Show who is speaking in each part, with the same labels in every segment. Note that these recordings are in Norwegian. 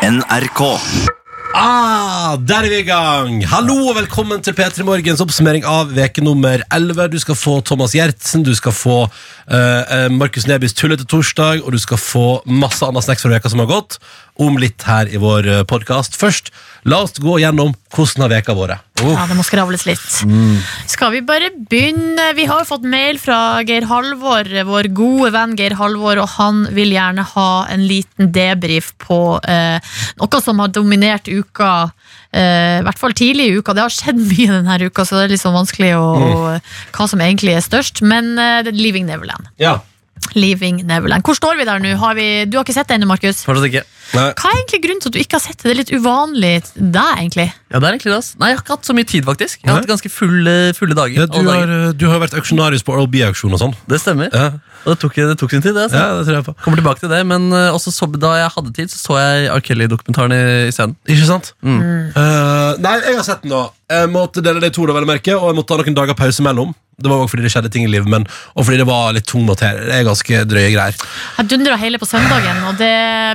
Speaker 1: NRK.
Speaker 2: Ah, der er vi i gang! Hallo og velkommen til P3 Morgens oppsummering av veke nummer 11. Du skal få Thomas Gjertsen, du skal få eh, eh, Markus Nebys Tullete torsdag, og du skal få masse annet snacks fra veka som har gått, om litt her i vår eh, podcast. Først, la oss gå gjennom hvordan har veka vært. Oh,
Speaker 3: Ja, det må skravles litt. Skal vi bare begynne? Vi har jo fått mail fra Geir Halvor, vår gode venn Geir Halvor, og han vil gjerne ha en liten debrief på eh, noe som har dominert uka, eh, i hvert fall tidlig i uka. Det har skjedd mye denne uka, så det er litt sånn vanskelig å, å, hva som egentlig er størst, men eh, det er Leaving Neverland.
Speaker 2: ja.
Speaker 3: Leaving Neverland. Hvor står vi der nå? Har vi, du har ikke sett det ennå, Markus?
Speaker 4: Fortsatt ikke.
Speaker 2: Nei.
Speaker 3: Hva er egentlig grunnen til at du ikke har sett det? Det er litt uvanlig der, egentlig.
Speaker 4: Ja, det er egentlig det. ass. Nei, Jeg har ikke hatt så mye tid, faktisk. Jeg har hatt ganske fulle, fulle dager.
Speaker 2: Ja, du,
Speaker 4: alle
Speaker 2: har,
Speaker 4: dager.
Speaker 2: eh, du har vært auksjonarius på Oral-B-auksjon og sånn.
Speaker 4: Det stemmer.
Speaker 2: Ja.
Speaker 4: Og det tok, det tok sin tid, det.
Speaker 2: ja,
Speaker 4: Altså.
Speaker 2: det tror jeg på.
Speaker 4: Kommer tilbake til det, men eh, også så, Da jeg hadde tid, så så jeg R. Kelly-dokumentaren i, i scenen. Mm.
Speaker 2: Ikke sant?
Speaker 3: Mm.
Speaker 2: Eh, nei, jeg har sett den da Jeg måtte dele det i to, da, vel å merke og jeg måtte ha noen dager pause mellom. Det var også fordi det skjedde ting i livet, men og fordi det var litt tung materie. Det er ganske drøye greier.
Speaker 3: Jeg dundra hele på søndagen, og det,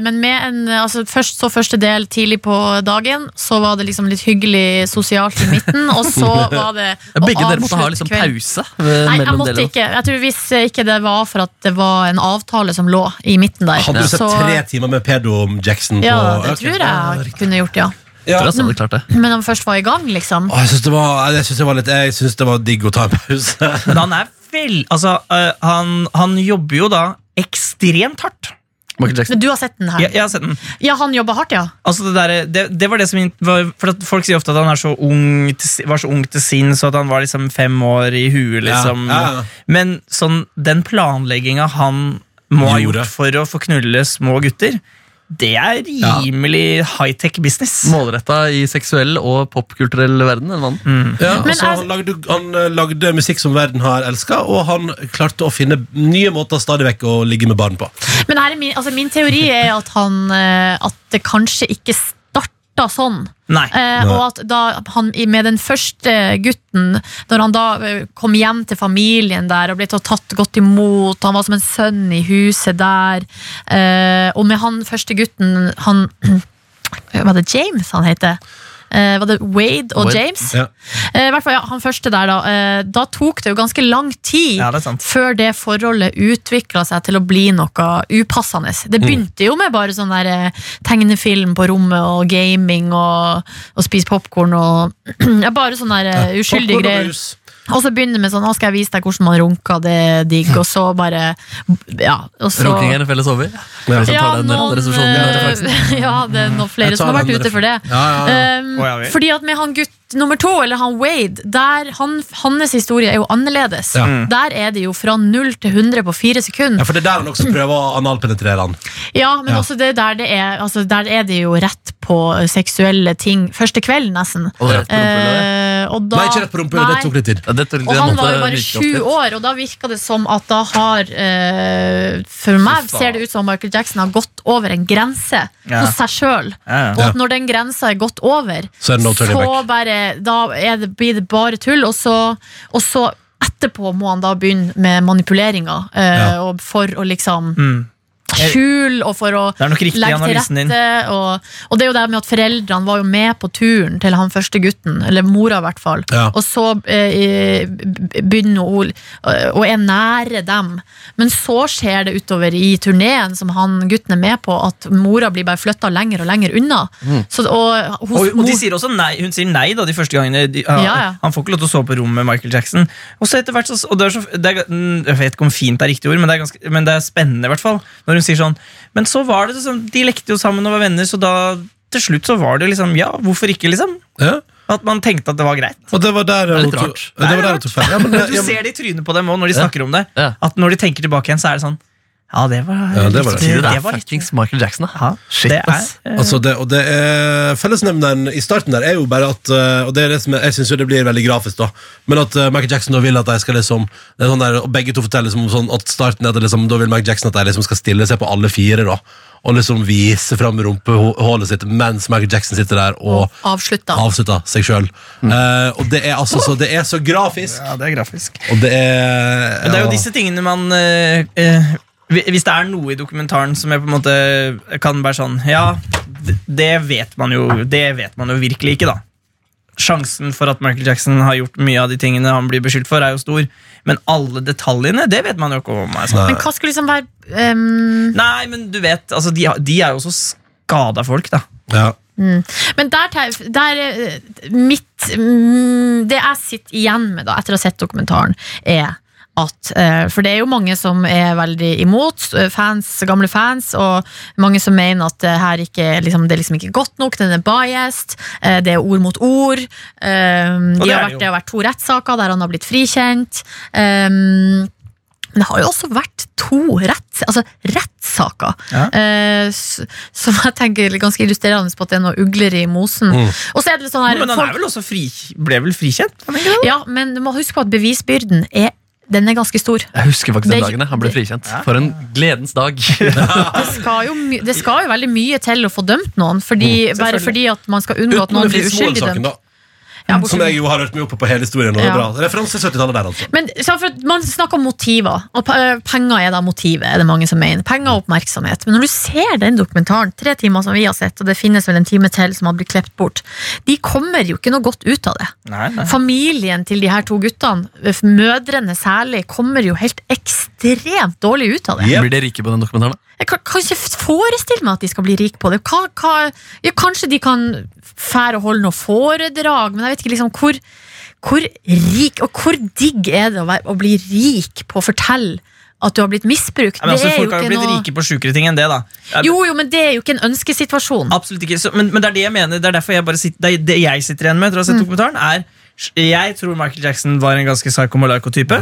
Speaker 3: men med en, altså først så første del tidlig på dagen. Så var det liksom litt hyggelig sosialt i midten, og så var det
Speaker 4: Ja, Begge
Speaker 3: å
Speaker 4: dere måtte ha
Speaker 3: avslutte
Speaker 4: liksom
Speaker 3: kvelden.
Speaker 4: pause. eh,
Speaker 3: Nei, jeg
Speaker 4: mellom
Speaker 3: måtte
Speaker 4: delene.
Speaker 3: ikke. Jeg tror Hvis ikke det var for at det var en avtale som lå i midten der.
Speaker 2: Hadde du sett
Speaker 3: så-
Speaker 2: tre timer med Pedo Jackson på
Speaker 3: Ja, det
Speaker 2: Ok.
Speaker 3: tror jeg jeg kunne gjort, ja.
Speaker 2: Ja.
Speaker 4: Dere hadde klart det.
Speaker 3: Men når man først var i gang, liksom.
Speaker 2: Å, jeg syns det, var- jeg synes det var litt Jeg synes det var digg å ta en pause.
Speaker 5: Men han er vel Altså, øh, han, han jobber jo da ekstremt hardt.
Speaker 4: Michael Jackson.
Speaker 3: Men du har sett den
Speaker 5: Jeg,
Speaker 3: her?
Speaker 5: jeg har sett den.
Speaker 3: Ja, han jobba hardt, ja.
Speaker 5: Altså det, der, det, det var det som var, For at Folk sier ofte at han er så ung til, si- var så ung til sinns, og at han var liksom fem år i huet. Liksom.
Speaker 2: Ja, ja, ja.
Speaker 5: Men sånn, den planlegginga han må ha
Speaker 2: Gjorde.
Speaker 5: gjort for å få knulle små gutter, det er rimelig high-tech business.
Speaker 4: Målretta i seksuell og popkulturell verden. En mann.
Speaker 2: Ja,
Speaker 3: Men
Speaker 2: altså,
Speaker 3: jeg-
Speaker 2: han, lagde, han eh, lagde musikk som verden har elska, og han klarte å finne nye måter stadig vekk å ligge med barn på.
Speaker 3: Men her er min, altså min teori er at, han, eh, at det kanskje ikke starta sånn.
Speaker 5: Nei.
Speaker 3: Eh, og at da han i- med den første gutten, når han da eh, kom hjem til familien der og ble tatt- tatt godt imot, han var som en sønn i huset der, eh, og med han første gutten, han Var det James han heter? Eh, var det Wade og
Speaker 4: Wade,
Speaker 3: James?
Speaker 2: ja.
Speaker 3: Eh, I hvert fall ja, han første der, da. Eh, da tok det jo ganske lang tid
Speaker 5: Ja, det er sant.
Speaker 3: før det forholdet utvikla seg til å bli noe upassende. Det begynte jo med bare sånn der eh, tegnefilm på rommet og gaming og, og spise popkorn og ja, Bare sånne der eh, uskyldige
Speaker 2: Popcorn og
Speaker 3: greier.
Speaker 2: brus.
Speaker 3: Og så begynner det med sånn 'Nå skal jeg vise deg hvordan man runker, det er digg', og så bare Ja. Og så
Speaker 4: Runking er en felles over.
Speaker 2: Ja.
Speaker 4: Hvis han tar den resepsjonen, den referansen.
Speaker 3: eh, ja, det er noen flere
Speaker 2: Jeg
Speaker 3: som
Speaker 2: tar
Speaker 3: har vært
Speaker 2: den
Speaker 3: ute for det.
Speaker 2: Ja, ja, ja.
Speaker 3: Um,
Speaker 5: Å, ja vel.
Speaker 3: fordi at med han gutt nummer to, eller han Wade, der han, hans historie er jo annerledes.
Speaker 2: Ja.
Speaker 5: Mm.
Speaker 3: Der er det jo fra null til 100 på fire sekunder.
Speaker 2: Ja, for det er der han også prøver å analpenetrere han.
Speaker 3: Ja, men
Speaker 2: Ja.
Speaker 3: også det der det er altså Der er det jo rett på eh, seksuelle ting. Første kveld, nesten.
Speaker 4: Og det er rett på rumpehullet, det.
Speaker 3: Eh, og da,
Speaker 2: Nei, ikke rett på rumpa, det
Speaker 3: Nei.
Speaker 2: tok litt tid.
Speaker 4: Ja, det tror jeg
Speaker 3: Og
Speaker 4: jeg
Speaker 3: han
Speaker 4: måtte
Speaker 3: var jo bare
Speaker 4: myke opp
Speaker 3: sju
Speaker 4: litt.
Speaker 3: år, og da virka det som at da har eh, For meg
Speaker 4: faen.
Speaker 3: ser det ut som Michael Jackson har gått over en grense
Speaker 5: Ja.
Speaker 3: hos seg sjøl.
Speaker 5: Ja,
Speaker 3: Og
Speaker 5: ja.
Speaker 3: at når den grensa er gått over,
Speaker 2: Så er det no turning
Speaker 3: så
Speaker 2: back.
Speaker 3: bare, da er det, blir det bare tull. Og så, og så etterpå må han da begynne med manipuleringa, eh,
Speaker 2: Ja.
Speaker 3: og for å liksom
Speaker 5: Mm.
Speaker 3: skjule og for å
Speaker 5: Det er nok riktig i
Speaker 3: legge til
Speaker 5: analysen din.
Speaker 3: rette. Og, og det er jo det med at foreldrene var jo med på turen til han første gutten, eller mora i hvert fall.
Speaker 2: Ja.
Speaker 3: Og så eh, begynner hun eh, og er nære dem. Men så skjer det utover i turneen som han gutten er med på, at mora blir bare flytta lenger og lenger unna. Så, og, hos
Speaker 5: Og, og de
Speaker 3: mor-
Speaker 5: sier også nei, Hun sier nei da de første gangene. De, han-
Speaker 3: Ja, ja.
Speaker 5: Han får ikke lov til å sove på rom med Michael Jackson. Og så etter hvert så, og det er så, det er, mm, Jeg vet ikke om fint er riktig ord, men det er, ganske, men det er spennende. I hvert fall Når hun sier sånn Men så var det liksom, De lekte jo sammen og var venner, så da til slutt så var det liksom Ja, hvorfor ikke, liksom?
Speaker 2: Ja.
Speaker 5: At man tenkte at det var greit.
Speaker 2: Og det var der
Speaker 4: er litt
Speaker 2: hun tok-
Speaker 4: rart.
Speaker 2: Det var der hun tok feil. Ja, men det-
Speaker 5: Du
Speaker 2: ja, men-
Speaker 5: ser det i trynet på dem òg når de
Speaker 4: Ja.
Speaker 5: snakker om det.
Speaker 4: Ja.
Speaker 5: At når de tenker tilbake igjen, så er det sånn Ja, det var
Speaker 2: Ja, det var
Speaker 5: litt-
Speaker 2: det.
Speaker 4: Det
Speaker 5: det
Speaker 4: er
Speaker 5: var litt
Speaker 4: fuckings Michael Jackson, da.
Speaker 5: ja,
Speaker 4: Shit,
Speaker 5: det er,
Speaker 4: ass.
Speaker 5: eh,
Speaker 2: Altså det, og det er Fellesnevneren i starten der er jo bare at eh, Og det er det som er, Jeg syns jo det blir veldig grafisk, da. Men at eh, Michael Jackson da vil at de skal liksom det er sånn der, Og begge to forteller liksom sånn at starten er at det liksom, da vil Michael Jackson at de liksom skal stille seg på alle fire, da. Og liksom vise fram rumpehullet sitt mens Michael Jackson sitter der og
Speaker 3: avslutta.
Speaker 2: avslutter seg sjøl.
Speaker 4: Mm.
Speaker 2: og det er altså så Det er så grafisk,
Speaker 5: ja, det er grafisk.
Speaker 2: og det er
Speaker 5: Men det er jo
Speaker 2: ja.
Speaker 5: disse tingene man eh, eh, Hvi- Hvis det er noe i dokumentaren som jeg på en måte kan være sånn Ja, d- det vet man jo, det vet man jo virkelig ikke, da. Sjansen for at Michael Jackson har gjort mye av de tingene han blir beskyldt for, er jo stor. Men alle detaljene, det vet man jo ikke om. Altså.
Speaker 3: Men hva skulle liksom være ehm,
Speaker 5: Nei, men du vet, altså, de, har- de er jo også skada folk, da.
Speaker 2: Ja.
Speaker 3: Men der, tar- der eh, mitt, mm, Det jeg sitter igjen med da, etter å ha sett dokumentaren, er at eh, For det er jo mange som er veldig imot, eh, fans, gamle fans, og mange som mener at eh, her ikke, liksom, det er liksom ikke godt nok, den er biased, eh, det er ord mot ord. eh,
Speaker 5: Og
Speaker 3: de har
Speaker 5: det er det
Speaker 3: vært,
Speaker 5: jo.
Speaker 3: det har vært to rettssaker der han har blitt frikjent. eh, men det har jo også vært to retts, altså rettssaker
Speaker 5: Ja.
Speaker 3: eh, s- som jeg tenker er ganske illustrerende på at det er noe ugler i mosen.
Speaker 2: Mm.
Speaker 3: Og så er det litt sånn her
Speaker 5: Men han er
Speaker 3: folk,
Speaker 5: vel også fri, ble vel frikjent? Han er ikke det?
Speaker 3: Ja, men du må huske på at bevisbyrden er den er ganske stor.
Speaker 4: Jeg husker faktisk den
Speaker 3: Det-
Speaker 4: dagen jeg- han ble frikjent. For en gledens dag.
Speaker 3: Det skal, jo, my- det skal jo veldig mye til å få dømt noen, fordi, bare fordi at man skal unngå at
Speaker 2: Uten
Speaker 3: noen
Speaker 2: den
Speaker 3: blir
Speaker 2: Fritz
Speaker 3: uskyldig
Speaker 2: Moen-saken,
Speaker 3: dømt.
Speaker 2: da.
Speaker 3: Ja, bortsett
Speaker 2: Som jeg jo har hørt meg oppe på hele historien. Og det er
Speaker 3: Ja.
Speaker 2: bra. Referanse 70-tallet der, altså.
Speaker 3: Men så for, at Man snakker om motiver, og pe- eh, penger er da motivet. er det mange som mener. Penger og oppmerksomhet. Men når du ser den dokumentaren, tre timer som vi har sett, og det finnes vel en time til som hadde blitt klept bort, de kommer jo ikke noe godt ut av det.
Speaker 5: Nei, nei.
Speaker 3: Familien til de her to guttene, f- mødrene særlig, kommer jo helt ekstremt dårlig ut av det.
Speaker 2: Yep.
Speaker 4: Blir de rike på den dokumentaren? da?
Speaker 3: Jeg kan, kan ikke forestille meg at de skal bli rike på det. Hva, hva, ja, kanskje de kan fære og holde noe foredrag, men jeg vet ikke liksom hvor hvor rik og hvor digg er det å, være, å bli rik på å fortelle at du har blitt misbrukt?
Speaker 5: Ja, men altså,
Speaker 3: det er jo
Speaker 5: folk har jo
Speaker 3: ikke
Speaker 5: blitt
Speaker 3: noe
Speaker 5: rike på sjukere ting enn det, da. Ja,
Speaker 3: Jo, jo, men det er jo ikke en ønskesituasjon.
Speaker 5: Absolutt ikke. Så, men, men det er det jeg mener. Det er derfor jeg bare sitter, det, er det jeg sitter igjen med etter å ha sett dokumentaren, er jeg tror Michael Jackson var en ganske psycho-malaco-type.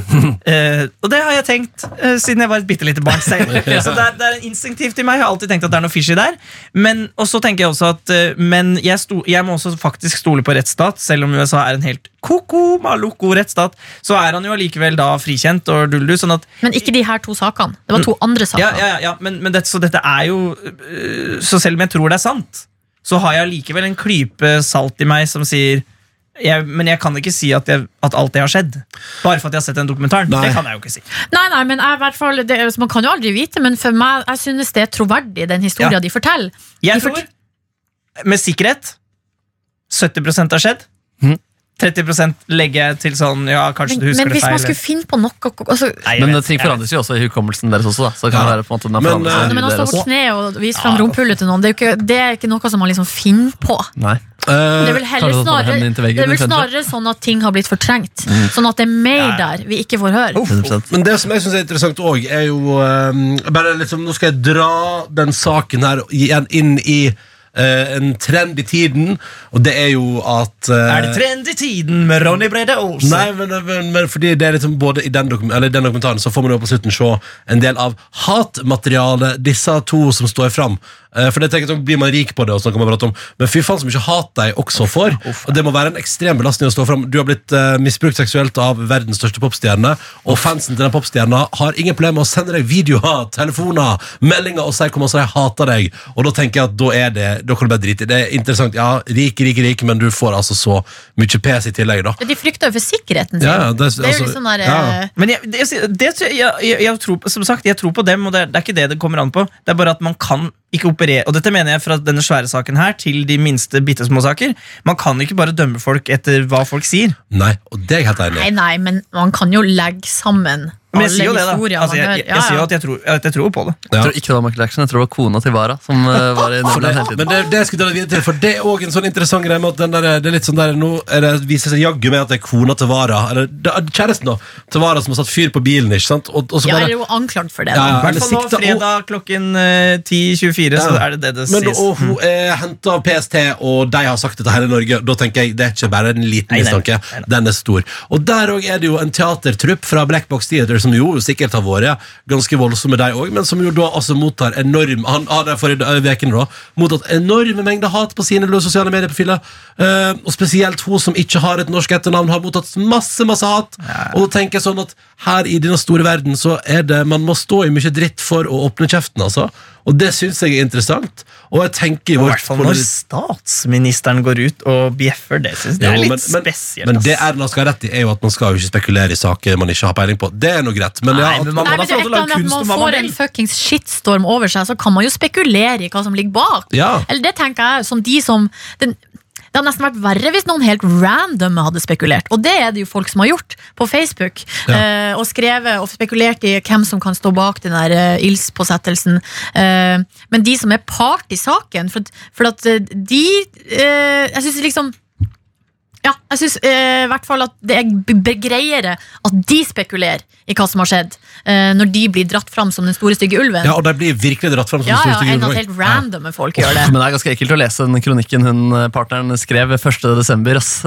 Speaker 5: Eh, og det har jeg tenkt eh, siden jeg var et bitte lite barn selv. Så det er, det er en instinktivt i meg. Jeg har alltid tenkt at det er noe fishy der. Men, og så tenker jeg også at eh, Men jeg, sto, jeg må også faktisk stole på rettsstat, selv om USA er en helt koko maloko rettsstat. Så er han jo allikevel da frikjent og duldu. Sånn at
Speaker 3: Men ikke de her to sakene. Det var to andre saker.
Speaker 5: ja, Mm. ja, ja, ja. Men, men dette, så dette er jo øh, Så selv om jeg tror det er sant, så har jeg likevel en klype salt i meg som sier jeg, Men jeg kan ikke si at, jeg, at alt det har skjedd. Bare for at jeg har sett den dokumentaren.
Speaker 2: Nei.
Speaker 5: Det kan jeg jo ikke si.
Speaker 3: Nei, nei, men jeg, i hvert fall, det, er- Man kan jo aldri vite, men for meg, jeg synes det er troverdig, den historien
Speaker 5: Ja.
Speaker 3: de forteller.
Speaker 5: Jeg
Speaker 3: De fort-
Speaker 5: tror med sikkerhet 70 har skjedd.
Speaker 4: Mhm.
Speaker 5: 30 legger jeg til sånn Ja, kanskje
Speaker 3: Men,
Speaker 5: du husker
Speaker 3: men
Speaker 5: det
Speaker 3: hvis
Speaker 5: feil.
Speaker 3: man skulle finne på noe altså,
Speaker 5: Nei, jeg
Speaker 4: Men
Speaker 5: vet,
Speaker 4: ting
Speaker 5: jeg vet.
Speaker 4: forandres jo også i hukommelsen deres også. da Så det kan
Speaker 2: Ja.
Speaker 4: være på en måte den har
Speaker 2: Men,
Speaker 4: forandret
Speaker 2: eh,
Speaker 4: seg i
Speaker 3: Men å
Speaker 4: huet
Speaker 3: stå på
Speaker 4: deres.
Speaker 3: kne og vise fram rumpehullet til noen, det er, jo ikke, det er ikke noe som man liksom finner på.
Speaker 4: Nei.
Speaker 3: Det er
Speaker 2: Eh,
Speaker 3: vel, heller
Speaker 4: kanskje sånn
Speaker 3: snarere,
Speaker 4: hendene inn til veggen,
Speaker 3: det er vel
Speaker 4: i stedet
Speaker 3: snarere sånn at ting har blitt fortrengt. Sånn at det er mer
Speaker 5: Ja.
Speaker 3: der vi ikke får høre.
Speaker 4: 100%.
Speaker 2: men det som jeg syns er interessant òg, er jo eh, bare liksom, Nå skal jeg dra den saken her igjen inn i eh, en trend i tiden, og det er jo at eh,
Speaker 5: Er det trend i tiden med Ronny Brede Olsen?
Speaker 2: Nei, men, men, men fordi det er liksom både i den, dokum eller i den dokumentaren så får man jo på slutten se en del av hatmaterialet disse to som står fram. Eh, For det tenker jeg sånn, Blir man rik på det, og sånn kan man prate om men fy faen så mye hat de også får. Og Det må være en ekstrem belastning å stå fram. Du har blitt eh, misbrukt seksuelt av verdens største popstjerne, og fansen til den popstjerna har ingen problemer med å sende deg videoer, telefoner, meldinger og si hvor mye de hater deg. Og da tenker jeg at da er det Da kan du bare drite i det. Det er interessant. Ja, rik, rik, rik, men du får altså så mye pes i tillegg, da.
Speaker 3: De frykter jo for sikkerheten sin.
Speaker 2: Ja, ja, det,
Speaker 3: Det er jo
Speaker 2: altså,
Speaker 3: litt sånn der,
Speaker 2: ja.
Speaker 3: eh,
Speaker 5: Men jeg, det, jeg, sier- det, tror jeg, jeg, jeg tror, på- som sagt, jeg tror på dem, og det, er- det er ikke det det kommer an på. Det er bare at man kan ikke operere Og dette mener jeg fra denne svære saken her til de minste bitte små saker. Man kan ikke bare dømme folk etter hva folk sier.
Speaker 2: Nei, og det er jeg helt enig
Speaker 3: Nei,
Speaker 2: i.
Speaker 3: nei, men man kan jo legge sammen
Speaker 5: Men
Speaker 3: alle
Speaker 5: jeg sier jo det, da.
Speaker 3: historier
Speaker 5: Altså, jeg,
Speaker 3: man
Speaker 5: jeg,
Speaker 3: hører.
Speaker 5: jeg,
Speaker 3: Ja,
Speaker 5: sier jo
Speaker 3: ja.
Speaker 5: at jeg tror, at jeg tror på det.
Speaker 2: Ja.
Speaker 4: Jeg tror ikke det var Michael Jackson, jeg tror det var kona til Vara. Som eh, var i Nederland
Speaker 2: Men
Speaker 4: hele tiden
Speaker 2: det, det jeg skulle dra videre til, for det er òg en sånn interessant greie med at den der, det er litt sånn der, nå er det, viser seg jaggu med at det er kona til Vara, eller da- kjæresten da, til Vara som har satt fyr på bilen, ikke sant? Og, og så
Speaker 3: Ja,
Speaker 2: bare,
Speaker 3: jeg er jo anklagd for det.
Speaker 2: Ja,
Speaker 3: da.
Speaker 2: ja,
Speaker 5: I hvert
Speaker 2: eller
Speaker 5: fall nå
Speaker 2: sikta-
Speaker 5: fredag klokken eh, 10.24, så
Speaker 2: Ja.
Speaker 5: er det det det
Speaker 2: Men,
Speaker 5: sies.
Speaker 2: og hun er hentet av PST, og de har sagt det til hele Norge. Da tenker jeg, Det er ikke bare en liten
Speaker 5: Nei, nei,
Speaker 2: mistanke,
Speaker 5: nei, nei.
Speaker 2: den er stor. Og Der også er det jo en teatertrupp fra Black Box Theater som jo sikkert har vært ganske voldsomme, de òg, men som jo da altså mottar enorm Han har der forrige uken mottatt enorme mengder hat på sine sosiale medieprofiler. Eh, og spesielt hun som ikke har et norsk etternavn, har mottatt masse, masse hat. Og da tenker jeg sånn at her i denne store verden så er det Man må stå i mye dritt for å åpne kjeften, altså. Og det syns jeg er interessant. Og jeg tenker i
Speaker 5: I
Speaker 2: vårt
Speaker 5: hvert fall når statsministeren går ut og bjeffer. Det synes jeg
Speaker 2: Jo,
Speaker 5: er
Speaker 2: men-
Speaker 5: litt
Speaker 2: men-
Speaker 5: spesielt.
Speaker 2: Men det
Speaker 5: ass.
Speaker 2: Erna skal ha rett i, er jo at man skal jo ikke spekulere i saker man ikke har peiling på. Det er nå greit. Men ja,
Speaker 5: Nei,
Speaker 2: at-
Speaker 5: men man,
Speaker 3: Nei, men
Speaker 5: man har
Speaker 3: det
Speaker 5: fått lov til å
Speaker 3: er
Speaker 5: lage
Speaker 3: at
Speaker 5: kunst
Speaker 3: man
Speaker 5: om hva man
Speaker 3: får en
Speaker 5: vil.
Speaker 3: fuckings shitstorm over seg, så kan man jo spekulere i hva som ligger bak.
Speaker 2: ja.
Speaker 3: Eller det tenker jeg som de som den, Det hadde nesten vært verre hvis noen helt random hadde spekulert. Og det er det jo folk som har gjort på Facebook.
Speaker 2: Ja.
Speaker 3: eh, og skrevet og spekulert i hvem som kan stå bak den der eh, ildspåsettelsen. Eh, men de som er part i saken For, at- for at eh, de eh, Jeg syns liksom ja, jeg syns i hvert fall at det er b- b- greiere at de spekulerer i hva som har skjedd, eh, når de blir dratt fram som den store, stygge ulven.
Speaker 2: ja, og de blir virkelig dratt fram som
Speaker 3: ja, ja,
Speaker 2: store
Speaker 3: enn at
Speaker 2: figurer.
Speaker 3: helt randomme folk gjør det.
Speaker 4: Men det er ganske ekkelt å lese den kronikken hun eh, partneren skrev 1.12.,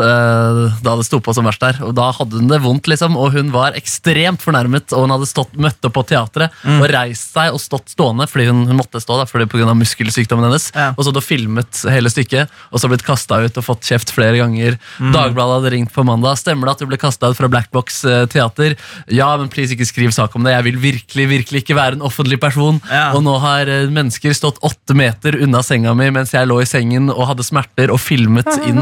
Speaker 4: eh, da det sto på som verst der. Og Da hadde hun det vondt, liksom, og hun var ekstremt fornærmet. Og hun hadde stått, møtt opp på teatret og reist seg og stått stående fordi hun, hun måtte stå da, fordi på grunn av muskelsykdommen hennes.
Speaker 5: Ja.
Speaker 4: Og så hadde hun filmet hele stykket og så blitt kasta ut og fått kjeft flere ganger. Dagbladet hadde ringt på mandag. Stemmer det at du ble kasta ut fra Black Box eh, teater? Ja, men please ikke skriv sak om det. Jeg vil virkelig, virkelig ikke være en offentlig person.
Speaker 5: Ja.
Speaker 4: Og nå har eh, mennesker stått åtte meter unna senga mi mens jeg lå i sengen og hadde smerter og filmet inn.